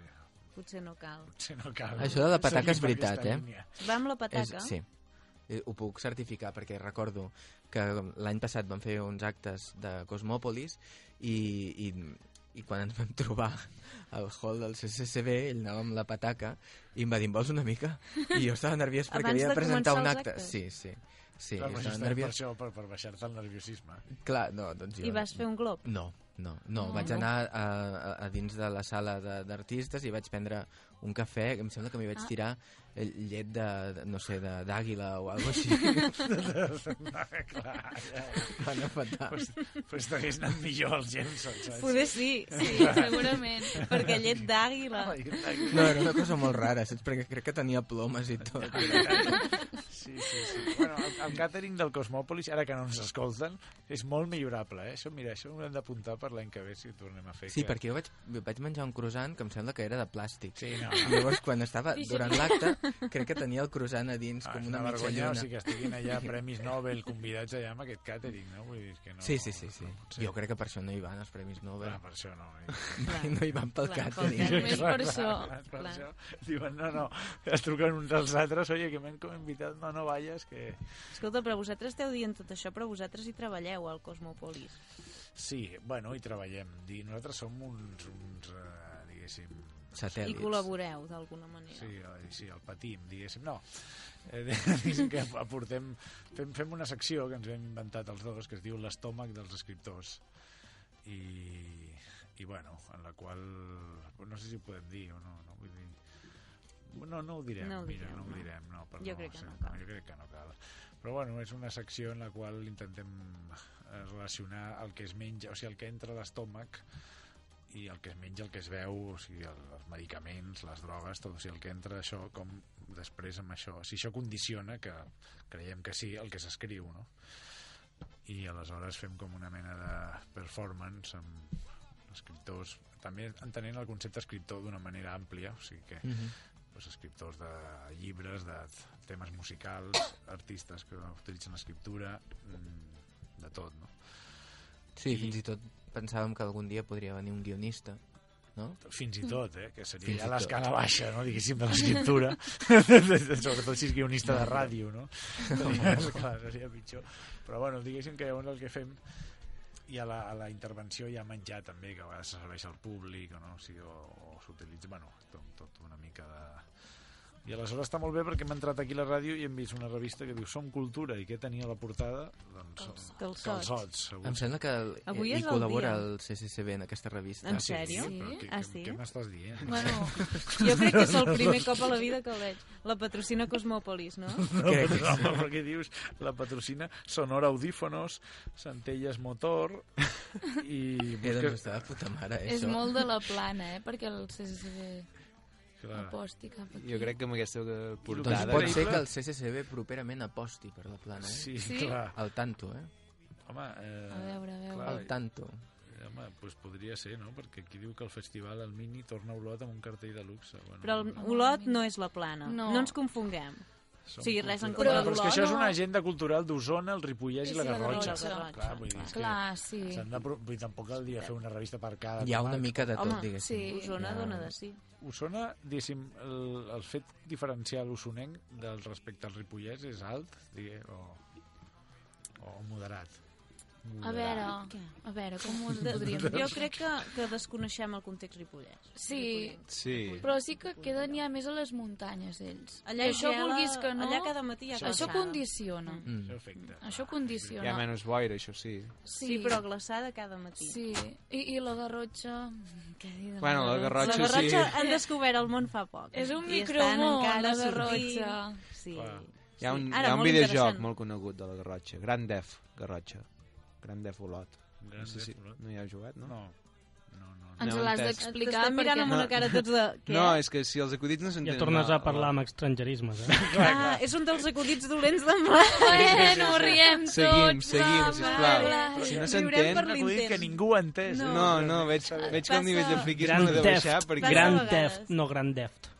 Potser no cal.
potser no cal.
Això de la petaca és
Seguim aquesta
veritat, eh?
línia.
Va amb la pataca?
és, sí. Eh, Ho puc certificar perquè recordo que l'any passat vam fer uns actes de Cosmòpolis i, i, i quan ens vam trobar al hall del CCCB ell anava amb la pataca i em va dir, "Em vols una mica? I jo estava nerviós perquè
Abans
havia
de
de presentar
començar
un
els
acte.
actes.
Sí, sí. Sí,
Clar, però això
estava
és per
nerviós.
això, per, per baixar-te el nerviosisme.
Clar, no, doncs jo...
I vas fer un glob?
No, no, no, no vaig anar a, a, a dins de la sala de- d'artistes i vaig prendre un cafè, que em sembla que m'hi
Ah.
vaig tirar eh, llet de, de- no sé, de- d'àguila o alguna així.
clar, ja.
Va anar fatal.
Pues, pues t'hagués anat millor el Jameson, saps?
Poder sí, sí, segurament. Perquè llet d'àguila.
No, era una cosa molt rara, saps? Perquè crec que tenia plomes i tot.
Sí, sí, sí. Bueno, el, el càtering del Cosmòpolis, ara que no ens escolten, és molt millorable, eh? Això, mira, això ho hem d'apuntar per l'any que ve si ho tornem a fer.
Sí,
que...
perquè jo vaig, vaig menjar un croissant que em sembla que era de plàstic.
Sí, no.
I Llavors, quan estava durant l'acte, crec que tenia el croissant a dins,
Ah,
com
és
una, mitja
vergonya,
lluna.
o sigui, que estiguin allà premis Nobel convidats allà amb aquest càtering, no? Vull dir que no...
Sí, sí, sí. sí.
No pot ser.
Jo crec que per això no hi van els Premis Nobel.
Ah, per això no.
no hi van pel
Clar,
càtering.
pel
Només per això.
per
clar.
això diuen, no, no, es truquen uns als altres, oye, que m'han com invitat, no, no vayas, que...
Escolta, però vosaltres esteu dient tot això, però vosaltres hi treballeu al Cosmopolis.
Sí, bueno, hi treballem. Dir, nosaltres som uns, uns eh, diguéssim...
I
Satèl·lits.
col·laboreu d'alguna manera.
Sí, eh, sí, el patim, diguéssim. No, eh, diguéssim que aportem... Fem, fem una secció que ens hem inventat els dos, que es diu l'estómac dels escriptors. I, i bueno, en la qual... No sé si ho podem dir o no, no vull dir... No, no ho direm,
No ho
mira,
direm,
no ho
no.
direm, no, per
Jo
no,
crec que
ser-
no cal.
Jo crec que no cal. Però bueno, és una secció en la qual intentem eh, relacionar el que es menja, o sigui, el que entra a l'estómac i el que es menja, el que es veu, o sigui, el, els medicaments, les drogues, tot, o sigui, el que entra això, com després amb això, si això condiciona, que creiem que sí, el que s'escriu, no? I aleshores fem com una mena de performance amb escriptors, també entenent el concepte escriptor d'una manera àmplia, o sigui que
Mhm.
pues, escriptors de llibres, de t- temes musicals, artistes que utilitzen l'escriptura, mm, de tot, no?
Sí, fins i tot pensàvem que algun dia podria venir un guionista, no?
Fins i tot, eh? Que seria
Fins
ja
i
l'escala baixa, no? Diguéssim, de l'escriptura. Sobretot si és guionista de ràdio, no? Seria, clar, seria pitjor. Però, bueno, diguéssim que llavors el que fem i a la, a la intervenció hi ha menjar també, que a vegades se serveix al públic o no, o sigui, o, o s'utilitza, bueno, tot, tot una mica de I aleshores està molt bé perquè hem entrat aquí a la ràdio i hem vist una revista que diu Som Cultura i què tenia a la portada? Doncs,
Calçots.
calçots segur.
Em sembla que el,
Avui
hi
és el dia.
col·labora el CCCB en aquesta revista.
En sèrio?
Sí? Però què,
Ah,
què,
sí?
què m'estàs dient?
Bueno, jo crec que és el primer cop a la vida que el veig. La patrocina Cosmòpolis, no?
No,
Crec que
però, home, però què dius? La patrocina Sonora Audífonos, Centelles Motor i...
Eh,
busques-
doncs està de puta mare, eh,
És
això.
molt de la plana, eh? Perquè el CCCB
Clar.
aposti cap aquí.
Jo crec que amb aquesta
Doncs
portada...
pot ser que el CCCB properament aposti per la plana, eh?
Sí,
Sí?
clar.
Al tanto, eh?
Home, eh,
A veure, a veure.
clar,
Al tanto.
home, doncs podria ser, no? Perquè aquí diu que el festival al Mini torna a Olot amb un cartell de luxe. Bueno,
Però el Olot no és la plana. No,
No.
no ens confonguem.
som
sí, res en
cultura-
contra
Home, Però és que
d'Olot,
això és
no.
una agenda cultural d'Osona, el Ripollès
Sí,
i la
sí, la
Garrotxa.
Garrotxa, la
Clar, vull dir,
Garrotxa,
és que
Clar, sí.
s'han de... pro- Vull dir, tampoc cal dir fer una revista per cada...
Hi ha una
comarca.
mica de tot,
Home,
diguéssim.
sí.
Osona
Hi ha-
dona de sí.
Osona, diguéssim, el, el fet diferencial osonenc del respecte al Ripollès és alt, digue, o, o moderat.
A veure,
Què?
a veure, com ho
De,
podríem dir?
jo crec que, que desconeixem el context ripollès.
Sí,
Sí.
però sí que queden ja més a les muntanyes, ells.
Allà
I això
gela,
vulguis que no,
Allà cada matí hi ha
això
glaçada.
condiciona.
Això
Mm.
afecta.
Això
Hi ha
condiciona.
menys boira, això sí.
Sí. sí, però glaçada cada matí.
Sí, I, i la Garrotxa... mm, Què dir de
Bueno, la
La
Garrotxa sí.
Garrotxa han descobert el món fa poc.
És un
I estan
micromón,
encara
la
sortint.
Garrotxa.
Sí.
Clar.
Hi ha un,
Ara,
hi ha un
molt
videojoc
interessant.
molt conegut de la Garrotxa. Grand Def, Garrotxa. Grand Def Olot.
Gran
No sé si
Olot.
no hi heu jugat, no?
No, no, no. no.
Ens
No,
l'has
entès.
d'explicar
T'estan mirant
perquè...
amb
no-
una cara tots de... Què?
No, és que si els acudits no
Ja
s'entenen...
tornes
no,
a parlar amb estrangerismes, eh?
ah, és un dels acudits dolents de mà.
Bueno, Eh, riem tots.
Seguim, seguim,
va,
sisplau.
va, va.
Si no
Riurem
s'entén...
per
Un acudit
l'intent.
que ningú ha entès. eh?
No,
No.
no, veig, veig que el nivell de
Passa-
friquisme
Gran
no deu baixar
Theft.
perquè...
Gran
Passa a vegades.
Theft, no Gran Deft.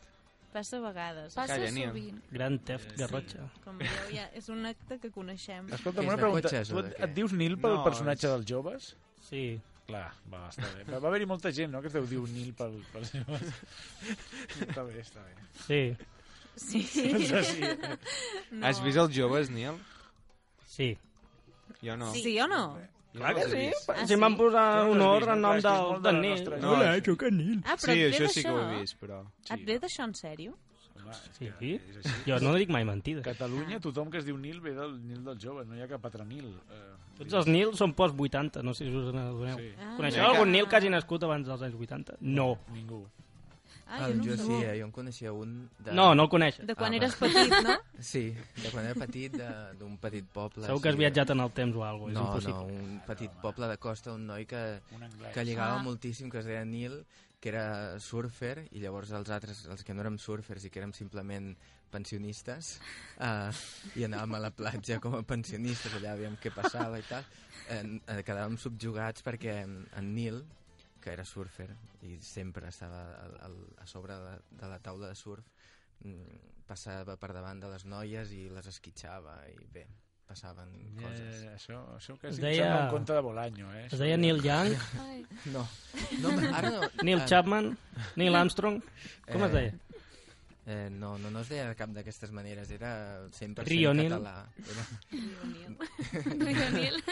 Passa a vegades.
Passa
Calla, Nia.
sovint.
Gran Theft, Garrotxa.
Com veieu, ja és un acte que coneixem.
Escolta,
És
una
de
pregunta.
cotxes o
tu
de
et,
què?
et dius Nil pel
No,
personatge
és-
dels joves?
Sí.
Clar, va, està bé. Va, va haver-hi molta gent, no?, que es deu dir Nil pel, pels joves. està bé, està bé.
Sí,
Sí.
Això sí.
No.
Has vist els joves, Niel?
sí.
Jo no.
Sí o no?
Jo no els he vist.
Ah,
Si m'han posat
No,
un
no has
honor
vist,
en
no,
nom
has vist
del eh,
molt de la
Daniel.
nostra
No, Hola, això-
Canil.
Ah, però
Sí,
et ve
això sí que ho
d'això?
he vist, però...
Et ve d'això en sèrio?
Home, és
Sí.
que és així.
Jo no dic mai mentides.
Catalunya, tothom que es diu Nil ve del Nil dels joves, no hi ha cap altre Nil. Eh,
Tots els Nils són post 80, no sé si us n'adoneu.
Sí.
Sí. Coneixeu
Ah.
algun Nil que hagi nascut abans dels anys 80? No.
Ningú.
Ah,
Ah,
jo no
jo
ho sé.
sí, eh, jo en coneixia un... De...
No, no el coneixes.
De quan
Ah,
eres
va.
petit, no?
Sí, de quan era petit, de- d'un petit poble.
Segur que has
així de-
viatjat en el temps o alguna cosa, és
No, no,
impossible.
un petit poble de costa, un noi que,
Un anglès.
que lligava
Ah.
moltíssim, que es deia Nil, que era surfer, i llavors els altres, els que no érem surfers i que érem simplement pensionistes, eh, i anàvem a la platja com a pensionistes, allà veiem què passava i tal, eh, eh, quedàvem subjugats perquè en Nil, que era surfer i sempre estava al, al, a sobre de, de la taula de surf, mm, passava per davant de les noies i les esquitxava i bé, passaven coses.
Eh, això, això que
Es
sí,
deia-
deia... sembla un conte de Bolanyo, eh?
Es deia Neil Young,
Ai,
No. No, home, ara no.
Neil
Eh,
Chapman, Neil Armstrong... Com es
Eh,
deia?
Eh, no, no, no es deia de cap d'aquestes maneres, era 100%
Rio Nil.
català. Era...
Rionil.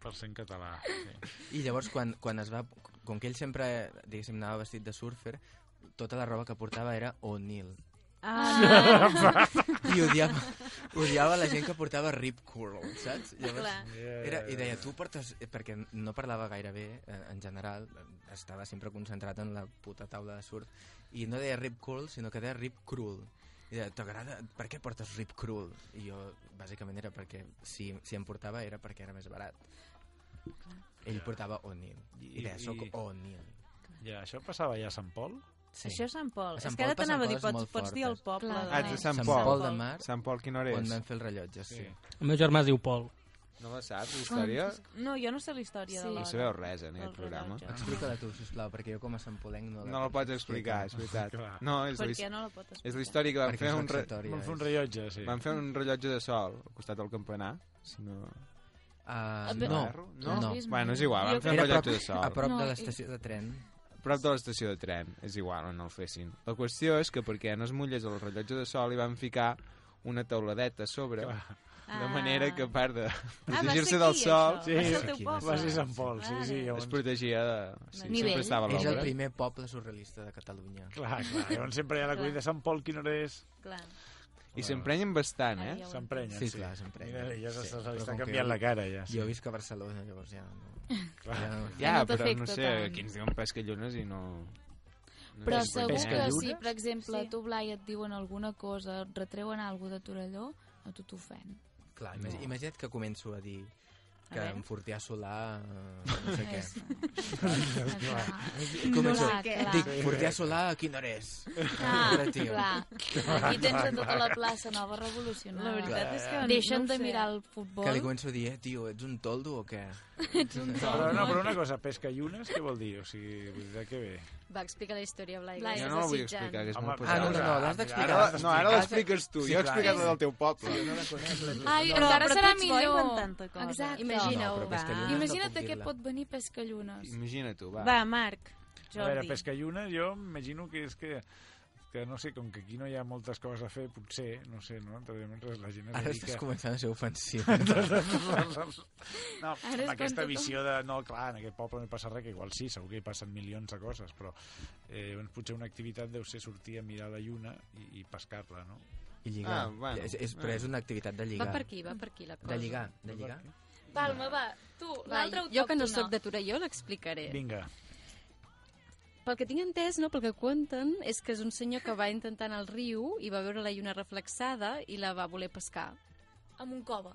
100% català. Sí.
I llavors, quan, quan es va... Com que ell sempre, diguéssim, anava vestit de surfer, tota la roba que portava era O'Neill.
Ah,
I odiava, odiava la gent que portava Rip Curl, saps? Llavors,
clar.
era, I deia, tu portes... eh, Perquè no parlava gaire bé, eh, en general, eh, estava sempre concentrat en la puta taula de surf, i no deia Rip Curl, sinó que deia Rip Cruel. I deia, t'agrada... Per què portes Rip Cruel? I jo, bàsicament, era perquè... Si, si em portava era perquè era més barat. Ell portava O'Neill.
I-
I deia, soc
i-
O'Neill.
Ja, això passava ja a Sant Pol?
Sí.
Això és Sant Pol.
A
És
Sant
que ara
Pol passen
t'anava a dir,
coses
pots,
molt
pots dir el
fortes.
poble.
Clar.
Ah, ets de Sant
Sant
Pol.
Pol de Mar,
Sant Pol, quina hora
on
és?
van fer el rellotge, sí.
Sí.
El meu germà es diu Pol.
No la saps, la història?
No, jo no sé la història
Sí.
de l'hora.
No sabeu res, en aquest
del
programa.
rellotge.
Explica-la tu, sisplau, perquè jo com a sampolenc no la
No la pots explicar, és veritat. No, és la,
Per
his-
què no la pot explicar?
és la història que van
Perquè
fer
és
un... Re...
vexatòria,
Van fer un
és-
rellotge, sí.
Van fer un rellotge de sol al costat del campanar, si no...
Ah,
Bé,
no,
Navarro?
no, no.
Bueno, és igual,
Jo
van fer un
Era a prop,
rellotge de sol.
a prop
No,
de
i-
l'estació de tren.
prop de l'estació de tren, és igual on el fessin. La qüestió és que perquè no es mullés el rellotge de sol hi van ficar una teuladeta a sobre De manera que, a part de
va
protegir-se
ser
del
aquí,
sol,
això. Sí. Va ser el teu poble.
eh?
Va ser Sant Pol, sí,
Vale.
sí.
es
Llavors,
protegia de... Sí,
Nivell.
sempre estava a
És el
l'obra.
primer poble surrealista de Catalunya.
clar, clar. Llavors sempre hi ha la cuina de Sant Pol, quina hora és?
Clar.
I s'emprenyen bastant, eh?
Ara ja ho
S'emprenyen,
Sí, clar, s'emprenyen.
Mira, ja se-
Sí,
se- se
però
li està
com que
canviant
jo-
la cara, ja. sí.
Jo visc a Barcelona, llavors ja... No. ja no.
Ja,
no
però no
t'afecta
sé,
tant.
aquí ens diuen pescallones i no... no eh?
Però
sé per
segur
què.
que si,
Pescallures?
per exemple,
Sí.
tu, Blai, et diuen alguna cosa, et retreuen alguna de Torelló, a tu t'ofèn.
Clar, imagi-
No.
imagina't que començo a dir que
A veure.
en Fortià Solà... eh, No sé què.
És-
Començo.
Clar, clar.
Dic, Fortià Solà, a quina hora és?
Clar,
Pobre tio.
clar. Aquí tens a tota la plaça nova revolucionada.
La veritat és que...
Deixen
no ho
de
sé.
mirar el
Que li
futbol.
començo a dir, eh, tio, ets un toldo o què?
Ets un
Però, no,
tòpic.
però una cosa, pesca i unes, què vol dir? O sigui, vull dir, de què ve?
Va explicar la història, Blai.
Blai,
que
Jo
estàs
no la vull
desitjant.
explicar, que és
Home,
molt
Ah, no,
pesada.
no, no, l'has d'explicar.
Ara, no, ara l'expliques tu,
Sí,
jo he
clar.
explicat la del teu poble.
No la conec, la-
Ai,
No,
encara
però tu
serà
ets bo inventant-te
millor.
coses.
Exacte.
Imagina-ho,
No, però
va.
pescallines no
Imagina't
puc
què
dir-la.
pot venir Pescallunes.
Imagina tu, va.
Va, Marc,
A
Jordi.
veure, pesca i unes, jo m'imagino que és que que no sé, com que aquí no hi ha moltes coses a fer, potser, no sé, no? També mentre la gent es
Ara estàs
dedica...
començant a ser ofensiu.
no,
Ara es
amb aquesta
pensa
visió de... No, clar, en aquest poble no hi passa res, que igual sí, segur que hi passen milions de coses, però eh, doncs potser una activitat deu ser sortir a mirar la lluna i, i pescar-la, no?
I lligar.
Ah, bueno.
és, és, però és una activitat de
Va
lligar.
per aquí, va per aquí la cosa.
De lligar, de lligar.
Palma, va, tu,
Blai,
l'altre ho
jo
toc,
que no
tu
sóc de Torelló l'explicaré.
Vinga,
Pel que tinc entès, no, pel que cuenten, és que és un senyor que va intentar anar al riu i va veure la lluna reflexada i la va voler pescar.
Amb un cova.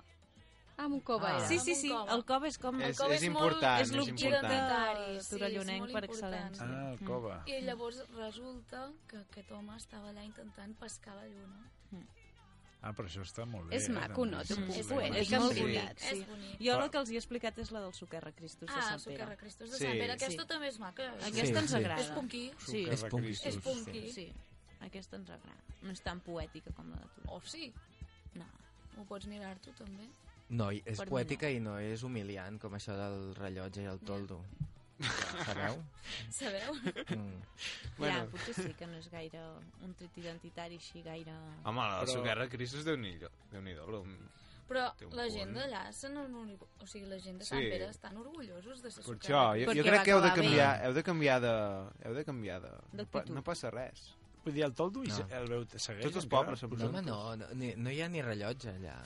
Ah, amb un cova.
Ah.
era.
Sí, sí, sí,
Amb un cove.
el cove és com...
És-
cova
és
molt-
important,
és
és
l'objecte
important.
identitari,
de
sí,
Torellonenc
és
per
molt
excel·lència.
important.
ah, el cova.
I llavors resulta que aquest home estava allà intentant pescar la lluna.
Ah, però això està molt bé.
És maco, no? T'ho
Sí,
puc
sí,
dir.
sí.
Ho
és
he
molt
explicat,
bonic, sí.
És bonic.
Jo la que els hi he explicat és la del Suquerra Cristus de
Ah,
Sant Pere.
Socarra Cristos de
Sí.
Sant Pere. Aquesta
Sí.
també és maca.
Aquesta ens
sí.
agrada.
És punky.
Sí,
Sucarra
És punky.
Cristus.
És punky.
sí, aquesta ens agrada. No és tan poètica com la de tu.
O Oh, sí,
No.
ho pots mirar tu també.
No, i és
Per mi no.
poètica i no és humiliant, com això del rellotge i el toldo. Sabeu?
Sabeu?
Mm.
Bueno.
Bueno.
Ja, potser sí que no és gaire un tret identitari així gaire...
Home, la
Però-
però... Sugarra Cristus, Déu-n'hi-do. Déu-n'hi-do. l'hom-
Però
Té un
la
punt.
gent d'allà, se n'orgullo- o sigui, la gent de Sant
Sí.
Pere estan orgullosos de ser
Per això,
Socarra.
jo,
Perquè
jo crec
va
que heu de
acabar
canviar,
bé.
heu de canviar de... Heu de canviar de... No, pa-
D'actitud.
no passa res.
Vull dir, el toldo i
No.
se- el veu segueix
Tots els
encara?
pobles sempre
No, home, no, no, ni- no hi ha ni rellotge allà.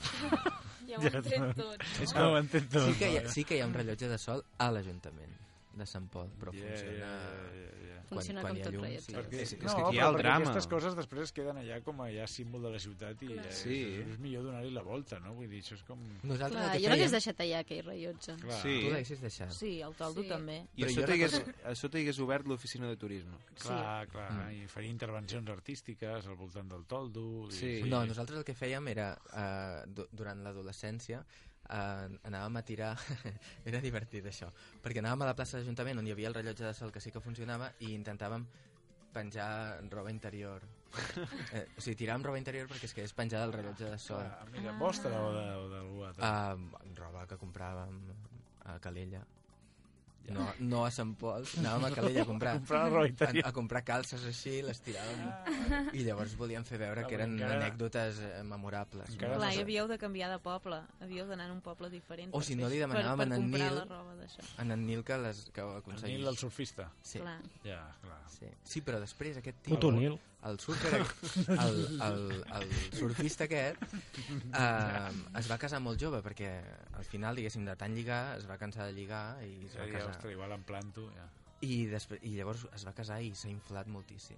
Ja ho entén tot.
És que ho entenc tot.
Sí que hi ha, sí que hi ha un rellotge de sol a l'Ajuntament de Sant Pol, però
Yeah,
funciona...
yeah, yeah, yeah.
Quan,
Funciona
quan
com
hi ha
tot
llum,
rellotge.
sí.
Perquè-
És,
és
és
que
que
aquí hi ha
però
el
perquè
drama.
Aquestes coses després es queden allà com a ja símbol de la ciutat i és,
Sí.
és millor donar-hi la volta, no? Vull dir, això és com...
nosaltres
Clar,
el que
jo no
fèiem...
l'hagués deixat allà, aquell rellotge.
Clar,
Sí.
Tu l'haguessis deixat.
Sí, el toldo
Sí.
també.
I a
Però jo
sota, hi hagués,
recordo-
a sota hi hagués obert l'oficina de turisme.
clar, clar. I faria intervencions artístiques al voltant del toldo... I...
Sí.
No, nosaltres el que fèiem era, eh, du- durant l'adolescència, eh, anàvem a tirar... era divertit, això. Perquè anàvem a la plaça de l'Ajuntament, on hi havia el rellotge de sol que sí que funcionava, i intentàvem penjar roba interior. eh, o sigui, tiràvem roba interior perquè es quedés penjada el rellotge de sol.
Ah, mira, vostra o de- o d'algú altre.
Uh, roba que compràvem a Calella. No, no a Sant Pol, anàvem a Calella a comprar,
Comprar la roba
a,
interior.
a comprar calces així, les tiràvem. I llavors volíem fer veure que eren
Ah, Encara-
anècdotes eh, memorables.
Encara
Clar,
no
i
sé.
havíeu de canviar de poble. Havíeu d'anar a un poble diferent.
O
per
si no,
fer-
li demanàvem
per,
en
per
en
comprar
Nil.
la roba d'això.
En en Nil que, les, que ho
El
aconseguís.
Nil, el surfista.
Sí.
Clar.
Ja, clar.
Sí. sí, però després aquest tio...
Puto Nil.
el surfer, el, el, el surfista aquest eh, es va casar molt jove perquè al final, diguéssim, de tant lligar es va cansar de lligar i es
Ja,
va
ja,
casar.
ostres, igual em planto, ja.
I, després, I llavors es va casar i s'ha inflat moltíssim.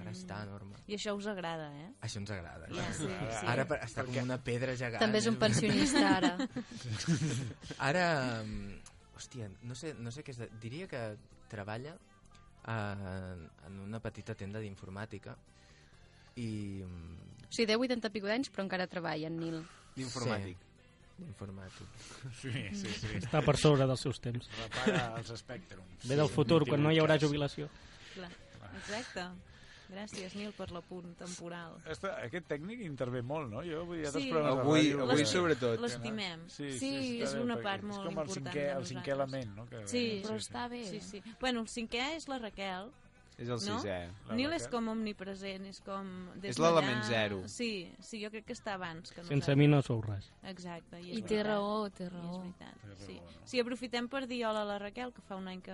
Ara està enorme.
I això us agrada, eh?
Això ens agrada.
Ja, sí, sí.
Ara per- està com una pedra gegant.
També és un pensionista, ara.
Ara, mm, hòstia, no sé, no sé què és... De... Diria que treballa eh, en una petita tenda d'informàtica i... mm,
O sigui, deu 80 pico d'anys, però encara treballa, en Nil.
D'informàtic.
Sí, d'informàtic.
Sí, sí, sí.
Està per sobre dels seus temps.
Repara els espectrums.
Ve del futur, quan no hi haurà jubilació.
Clar. Exacte. Gràcies, Nil, per l'apunt temporal.
Esta, aquest tècnic intervé molt, no? Jo vull dir, altres
Sí.
programes de
Avui,
ràdio-
avui
Sí.
sobretot.
L'estimem.
Sí, sí,
Sí,
està
és
bé,
una
perquè
part molt
És com el
important
cinquè,
de
el cinquè
nosaltres.
element, no? Que,
Sí.
Però està bé.
Sí, sí. Bueno, el cinquè és la Raquel,
És el
no?
sisè.
Nil és com omnipresent, és com... des
És l'element
d'allà-
zero.
Sí, sí, jo crec que està abans que
Sense mi no sou res.
Exacte. I,
I
és
té
veritat.
raó, té
I
raó.
és veritat, sí. Sí, aprofitem per dir hola a la Raquel, que fa un any que,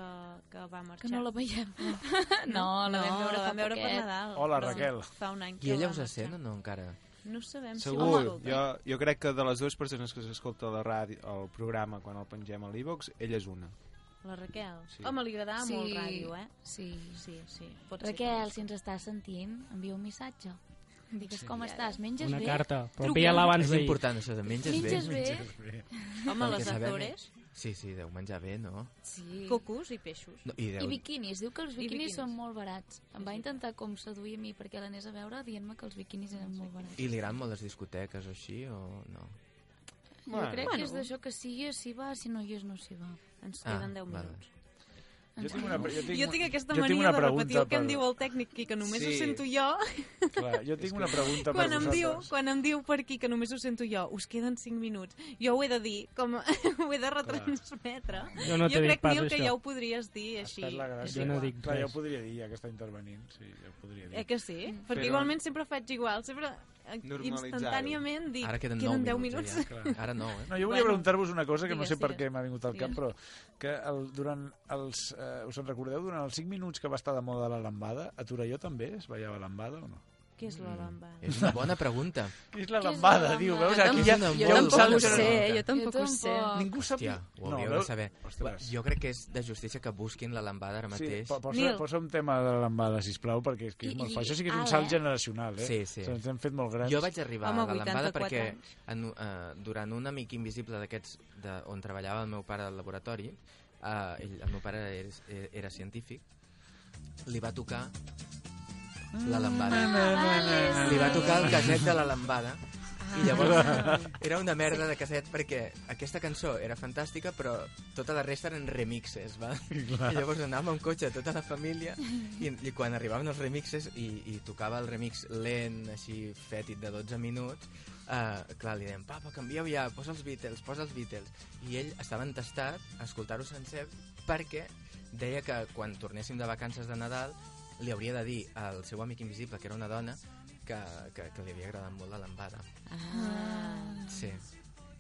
que va marxar.
Que no la veiem.
No, la
No, no,
vam veure,
la
vam veure per
poquet.
Nadal.
Hola,
però
Raquel.
Fa un any que
I ella
va
us
marxar.
sent o no encara?
No sabem si
Segur.
ho
Jo, jo crec que de les dues persones que s'escolta la ràdio, el programa quan el pengem a l'Evox, ella és una.
La Raquel.
Sí.
Sí. Home, li agradava sí. molt ràdio, eh?
Sí.
Sí, sí. Pot
Raquel, si ens estàs sentint, envia un missatge. Digues com estàs, menges
Una
bé?
carta, però
Truca'm.
pilla-la abans
És
d'ahir.
important, això de menges,
Menges
bé?
bé?
ser. Home,
Perquè
les
sabem-
Azores,
Sí, sí, deu menjar bé, no?
Sí.
cocos i peixos.
no I
I
deu...
biquinis, diu que els biquinis
biquinis.
són molt barats. Em va intentar com seduir a mi perquè l'anés a veure dient-me que els biquinis eren molt barats.
I li agraden molt les discoteques o així, o no?
Jo crec que
Bueno.
és d'això que si hi és, s'hi va, si no hi és, no s'hi va.
Ens
Ah,
queden 10
vale.
minuts.
Jo tinc, una, jo tinc,
Jo tinc aquesta
jo tinc
mania
una
de repetir el
pregunta
que em
per-
diu el tècnic i que només
Sí.
ho sento jo
Clar, jo tinc una pregunta per
quan em, diu,
vosaltres.
quan em diu per aquí que només ho sento jo us queden 5 minuts jo ho he de dir, com ho he de retransmetre
Jo no
jo
t'he
crec,
dit pas
Nil, que
això.
ja ho podries dir així
Has perdut la gràcia.
Jo no dic
Clar, jo
res.
ho podria dir, ja que està intervenint. Sí, ja ho podria dir.
Eh que sí? Perquè
Però-
igualment sempre faig igual, sempre eh,
Normalitzar-ho.
instantàniament dic,
Ara queden,
queden
9
10 minuts.
minuts. ja. Ara no, eh?
No, jo volia
Bueno.
preguntar-vos una cosa que no
Digues,
sé per
digues.
què m'ha vingut al cap, però que el, durant els... Eh, us en recordeu? Durant els 5 minuts que va estar de moda la lambada, a Torelló també es ballava lambada o no?
Què és la lamba?
Mm. És una bona pregunta.
Què és
Què
la
és la
lambada?
lambada?
Diu, veus,
Jo
aquí ja, ja
tampoc-
Jo
Hi ha un
tampoc
saldo
ho
que no
sé,
compta.
jo tampoc ho sé.
Ningú sap...
Hòstia, ho hauríeu de
veus?
saber.
Ostres.
Jo crec que és de justícia que busquin la lambada ara
Sí,
mateix.
po- posa,
Nil.
posa un tema de la lambada, sisplau, perquè és, que és
I-
molt
i-
fort. Això sí que és un
ah,
salt
eh?
generacional, eh?
Sí, sí.
Ens hem fet molt grans.
Jo vaig arribar
Home,
a la lambada
84
perquè
anys.
en, uh, durant un amic invisible d'aquests de- on treballava el meu pare al laboratori, uh, ell, el meu pare era, era científic, li va tocar la
Ah,
lambada.
Mm.
Li va tocar el caset de la lambada.
Ah.
I llavors era una merda de caset perquè aquesta cançó era fantàstica però tota la resta eren remixes, va? I llavors anàvem amb cotxe tota la família i, i quan arribaven els remixes i, i tocava el remix lent, així fètid de 12 minuts, eh, clar, li dèiem, papa, canvieu ja, posa els Beatles, posa els Beatles. I ell estava entestat a escoltar-ho sencer perquè deia que quan tornéssim de vacances de Nadal li hauria de dir al seu amic invisible, que era una dona, que, que, que li havia agradat molt la lambada.
Ah,
Sí,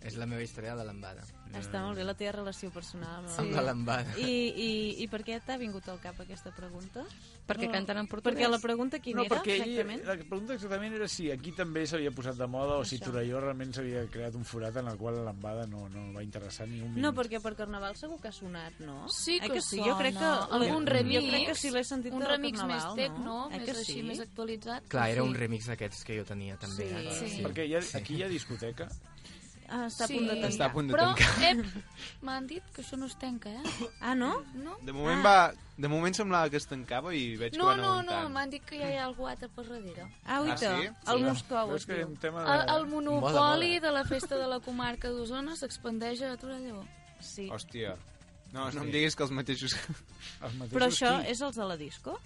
és la meva història de la lambada.
està molt bé la teva relació personal.
Sí. Amb la lambada.
I, i, I per què t'ha vingut al cap aquesta pregunta?
Perquè canten en portuguès.
Perquè la pregunta quina
no,
era,
perquè ell,
exactament?
la pregunta exactament era si aquí també s'havia posat de moda o si
Això.
Torelló realment s'havia creat un forat en el qual la lambada no, no va interessar ni un minut.
No, perquè per Carnaval segur que ha sonat, no?
Sí
eh
que,
que sí,
sona.
jo crec que...
Algun remix,
Jo crec que sí l'he sentit
un
al
remix
Carnaval,
més tec, no?
Eh
Més
que
així,
sí?
més actualitzat.
Clar,
però
era
sí.
un remix d'aquests que jo tenia també.
Sí.
ara.
Sí.
perquè hi ha, aquí hi ha discoteca.
Ah, està a punt de
Sí.
tancar.
Està a punt de
Però,
tancar.
ep, m'han dit que això no es tanca, eh?
Ah, no?
No?
De moment, va, de moment semblava que es tancava i veig
No,
que van
no, no,
aguantant.
m'han dit que ja hi ha algú altre per darrere.
Ah, uita,
sí?
el Moscou.
Veus
es
que hi ha
diu.
un tema de...
El, el monopoli
mola.
de la festa de la comarca d'Osona s'expandeix a Torelló.
Sí.
Hòstia. No, no em diguis que els mateixos...
els mateixos
Però això
qui-
és els de la disco?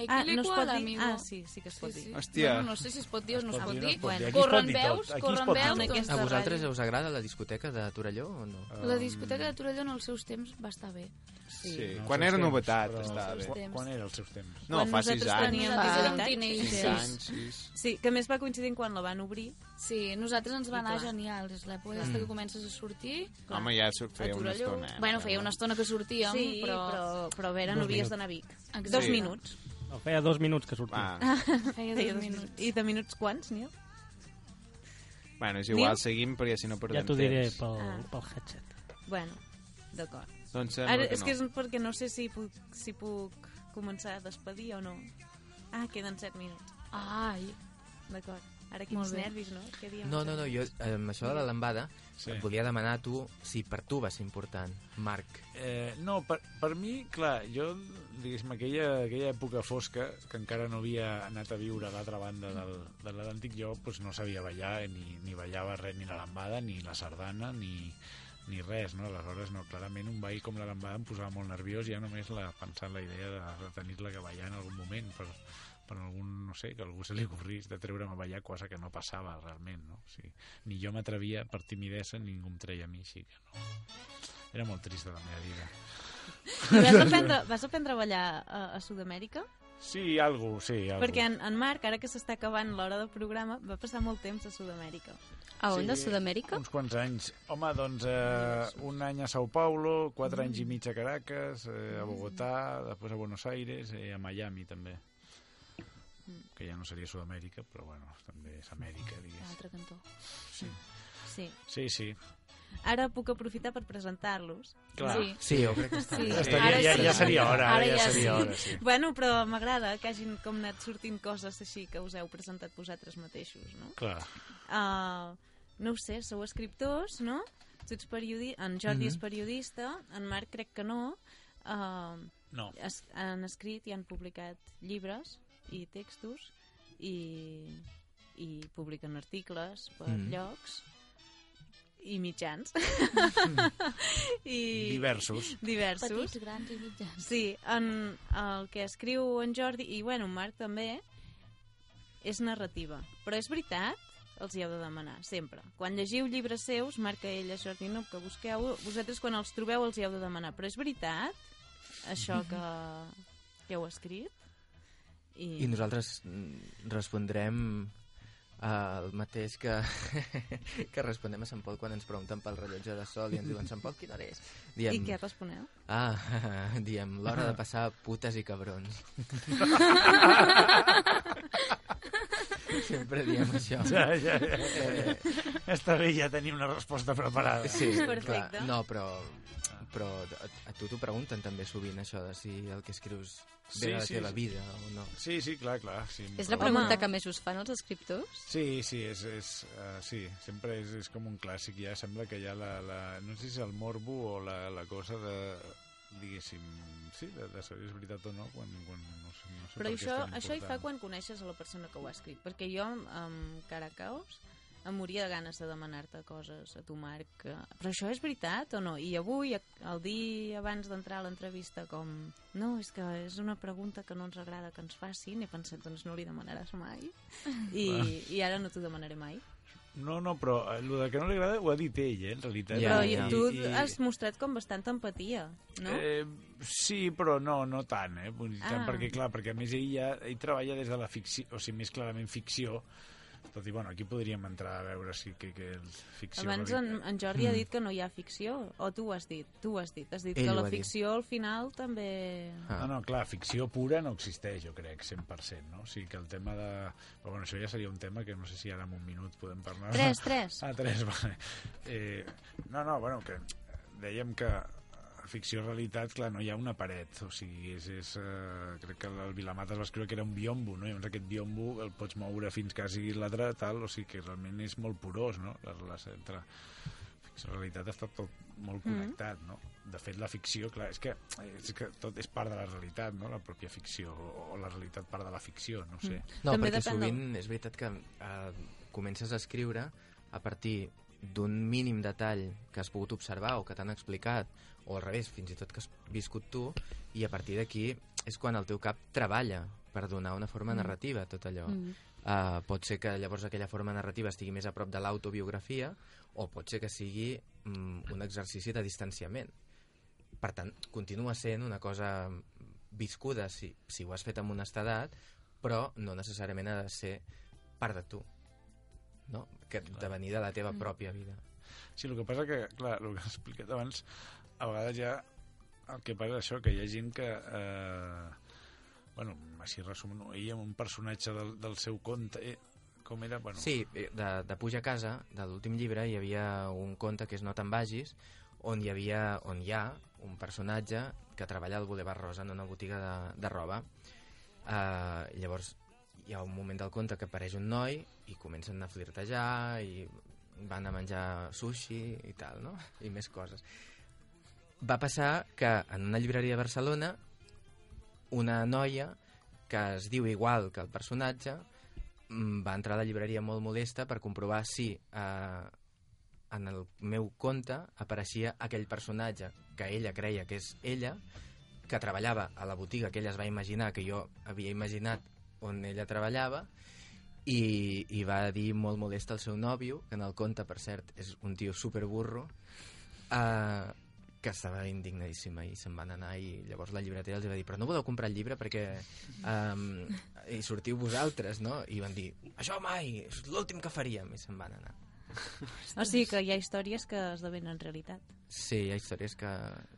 Hey,
Ah,
qui li
no es
qual,
pot dir?
amigo?
Ah, sí, sí que es pot dir.
Hòstia.
Bueno, no sé si es pot dir o no es
pot
pot
dir, no
dir.
es pot dir. Aquí es pot
Corren
dir tot.
veus,
Aquí es
corren
pot dir
veus.
tot.
doncs.
A
Aquesta
vosaltres
ràdio.
us agrada la discoteca de Torelló o no?
La discoteca de Torelló en els seus temps va estar bé.
Sí.
No,
Quan
els
era
seus
novetat,
temps, però-
estava bé.
Quan, quan era els seus temps?
No,
Quan
fa sis
nosaltres
anys.
teníem
Fa-
17 anys.
teníem
Sis
16.
anys, sis.
Sí, que a més va coincidir quan la van obrir.
Sí, nosaltres ens va
I
anar
clar.
genial. És l'època aquesta que comences a sortir.
Home, ja s'ho feia una
Torelló.
estona. eh?
Bueno, feia una estona que sortíem,
Sí, però, però, però a veure, no havies d'anar a Vic.
Exacte.
Dos
Sí.
minuts.
No, feia dos minuts que sortia.
Va.
feia
Feia
dos
dos
minuts.
I de minuts quants, Nil?
Bueno, és igual,
Nil?
seguim perquè si no perdem
Ja t'ho diré
temps.
pel,
Ah.
pel headset.
Bueno, d'acord.
Doncs sembla
Ara,
que
és
no.
que és perquè no sé si puc, si puc començar a despedir o no. Ah, queden 7 minuts.
Ai,
D'acord. Ara
Molt
quins
bé.
nervis, no? Què diem?
No, no, no, jo eh, amb això de la lambada
Sí.
sí. et volia demanar a tu si per tu va ser important, Marc.
Eh, no, per, per mi, clar, jo, diguéssim, aquella, aquella època fosca, que encara no havia anat a viure a l'altra banda del, de l'Atlàntic, jo pues, no sabia ballar, eh, ni, ni ballava res, ni la lambada, ni la sardana, ni, ni res, no? Aleshores, no, clarament un ball com la lambada em posava molt nerviós, ja només la, pensant la idea de, de tenir-la que ballar en algun moment, per, per algun, no sé, que algú se li ocorrís de treure'm a ballar, cosa que no passava realment, no? O sigui, ni jo m'atrevia per timidesa, ningú em treia a mi, així que no. Era molt trista la meva vida.
I vas aprendre, vas aprendre a ballar a, a Sud-amèrica?
Ah,
Sí, algo, sí, algo.
Perquè en, en Marc, ara que s'està acabant l'hora del programa, va passar molt temps a Sud-amèrica.
A on, de Sud-amèrica?
Uns quants anys. Home, doncs eh, un any a Sao Paulo, quatre anys i mig a Caracas, eh, a Bogotà, després a Buenos Aires i eh, a Miami també. Que ja no seria Sud-amèrica, però bueno, també és Amèrica,
A
digués.
l'altre cantó.
Sí,
Sí.
sí. sí.
Ara puc aprofitar per presentar-los.
Clar.
Sí.
Sí, jo crec que està
Sí.
bé.
Ja,
Ara
estaria, ja,
sí.
ja seria hora,
Ara
ara, ja
ja
seria
sí.
hora, sí.
Bueno, però m'agrada que hagin com anat sortint coses així que us heu presentat vosaltres mateixos, no?
Clar.
Uh, no ho sé, sou escriptors, no? Tu ets periodi... En Jordi és periodista, en Marc crec que no. Uh,
No.
es, han escrit i han publicat llibres i textos i, i publiquen articles per
Mhm.
llocs i mitjans. I
Diversos.
diversos.
Petits, grans i mitjans.
Sí, en el que escriu en Jordi, i bueno, en Marc també, és narrativa. Però és veritat, els hi heu de demanar, sempre. Quan llegiu llibres seus, marca ella, Jordi Nub, que busqueu, vosaltres quan els trobeu els hi heu de demanar. Però és veritat, això que, que heu escrit?
I nosaltres mm, respondrem eh, el mateix que, que respondem a Sant Pol quan ens pregunten pel rellotge de sol i ens diuen Sant Pol, quina hora és? Diem,
I què responeu?
Ah, diem, l'hora de passar putes i cabrons. Sempre diem això.
Ja, ja, ja. Està bé ja tenir una resposta preparada.
Sí,
Perfecte.
clar. No, però, però a, a tu t'ho pregunten també sovint, això de si el que escrius ve
Sí,
de la
sí,
teva
sí.
vida o no.
Sí, sí, clar, clar. Sí, em
És la
pregunto.
pregunta que més us fan els escriptors?
Sí, sí, és, és, uh, sí, sempre és, és com un clàssic, ja sembla que ja la, la, no sé si és el morbo o la, la cosa de, diguéssim, sí, de, de saber si és veritat o no, quan, quan no sé, no sé
Però
per què
això,
és tan
això hi fa
important.
quan coneixes a la persona que ho ha escrit. Perquè jo, amb Caracaos, em moria de ganes de demanar-te coses a tu, Marc. que- Però això és veritat o no? I avui, el dia abans d'entrar a l'entrevista, com... No, és que és una pregunta que no ens agrada que ens facin. He pensat, doncs no li demanaràs mai. I, i ara no t'ho demanaré mai.
No, no, però eh, el de que no li agrada ho ha dit ell, eh, en realitat.
Ja,
Però
ja.
i, tu has mostrat com bastanta empatia, no?
Eh, sí, però no, no tant, eh? Vull dir, tant
Ah.
perquè, clar, perquè a més ell, ja, ell treballa des de la ficció, o sigui, més clarament ficció, tot i, bueno, aquí podríem entrar a veure si que, que el ficció...
Abans en, en Jordi ha dit que no hi ha ficció, o tu ho has dit, tu ho has dit, has dit
Ell
que
ho
la
ha dit.
ficció al final també...
Ah,
Ah.
No, no, clar, ficció pura no existeix, jo crec, 100%, no? O sigui que el tema de... Però bueno, això ja seria un tema que no sé si ara en un minut podem parlar.
Tres, tres.
Ah, tres, vale. Eh, no, no, bueno, que dèiem que ficció realitat, clar, no hi ha una paret, o sigui, és, és eh, crec que el Vilamata es va escriure que era un biombo, no? Llavors aquest biombo el pots moure fins quasi l'altre tal, o sigui que realment és molt porós, no? La relació entre ficció i realitat està tot molt connectat, no? De fet, la ficció, clar, és que, és que tot és part de la realitat, no? La pròpia ficció, o, o la realitat part de la ficció, no ho sé.
No,
També
perquè
depèn del-
sovint és veritat que eh, comences a escriure a partir d'un mínim detall que has pogut observar o que t'han explicat, o al revés, fins i tot que has viscut tu, i a partir d'aquí és quan el teu cap treballa per donar una forma narrativa a tot allò. Mm. Uh, pot ser que llavors aquella forma narrativa estigui més a prop de l'autobiografia o pot ser que sigui mm, un exercici de distanciament. Per tant, continua sent una cosa viscuda si, si ho has fet amb honestedat, però no necessàriament ha de ser part de tu, no? Que de venir de la teva pròpia vida.
Sí, el que passa que, clar, el que has explicat abans, a vegades ja el que passa és això, que hi ha gent que... Eh, bueno, així resumint ell amb un personatge del, del seu conte... Eh, com era? Bueno,
Sí, eh, de, de Puja a casa, de l'últim llibre, hi havia un conte que és No te'n vagis, on hi, havia, on hi ha un personatge que treballa al Boulevard Rosa en una botiga de, de roba. Uh, llavors, hi ha un moment del conte que apareix un noi i comencen a flirtejar i van a menjar sushi i tal, no? I més coses. Va passar que en una llibreria de Barcelona una noia que es diu igual que el personatge mm, va entrar a la llibreria molt modesta per comprovar si eh, en el meu conte apareixia aquell personatge que ella creia que és ella, que treballava a la botiga que ella es va imaginar, que jo havia imaginat on ella treballava, i, i va dir molt modesta al seu nòvio, que en el conte, per cert, és un tio superburro, eh, que estava indignadíssima i se'n van anar i llavors la llibretera els va dir però no voleu comprar el llibre perquè um, hi sortiu vosaltres, no? I van dir, això mai, és l'últim que faríem i se'n van anar.
O sigui que hi ha històries que esdevenen realitat.
Sí, hi ha històries que...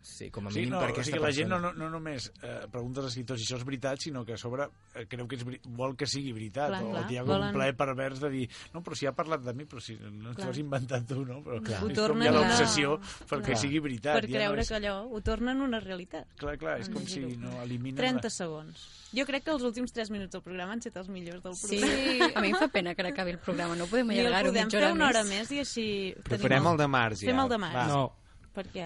Sí, com a
Sí,
mínim
no,
per
o
aquesta
sigui, la gent no,
persona.
no, no només eh, pregunta als escriptors si això és veritat, sinó que a sobre eh, creu que és, veri- vol que sigui veritat.
Clar,
o
clar,
hi ha com
volen-
un plaer pervers de dir no, però si ha parlat de mi, però si no
Clar.
t'ho has inventat tu, no? Però
Clar. Ho
és com
tornen
hi ha
a-
l'obsessió perquè
Clar.
sigui veritat.
per
ja
creure
no és...
que Ah, allò ho tornen una realitat.
Clar, clar, és com si
Imagino.
no elimina...
30 segons. Jo crec que els últims 3 minuts del programa han estat els millors del
Sí,
programa.
a mi em fa pena que acabi el programa, no podem
Ni el
allargar-ho
podem
mitja
fer
hora
una hora més
més.
i així...
Però
tenim
farem el de març, ja.
Fem el de març.
Va.
No,
Per què?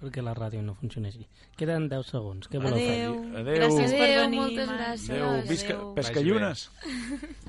perquè la ràdio no funciona així. Queden 10 segons. Què voleu fer?
Adéu.
Adéu.
Gràcies per
Adéu,
venir.
moltes
Marc.
gràcies.
Adéu, visca,
Adéu.
pescallunes.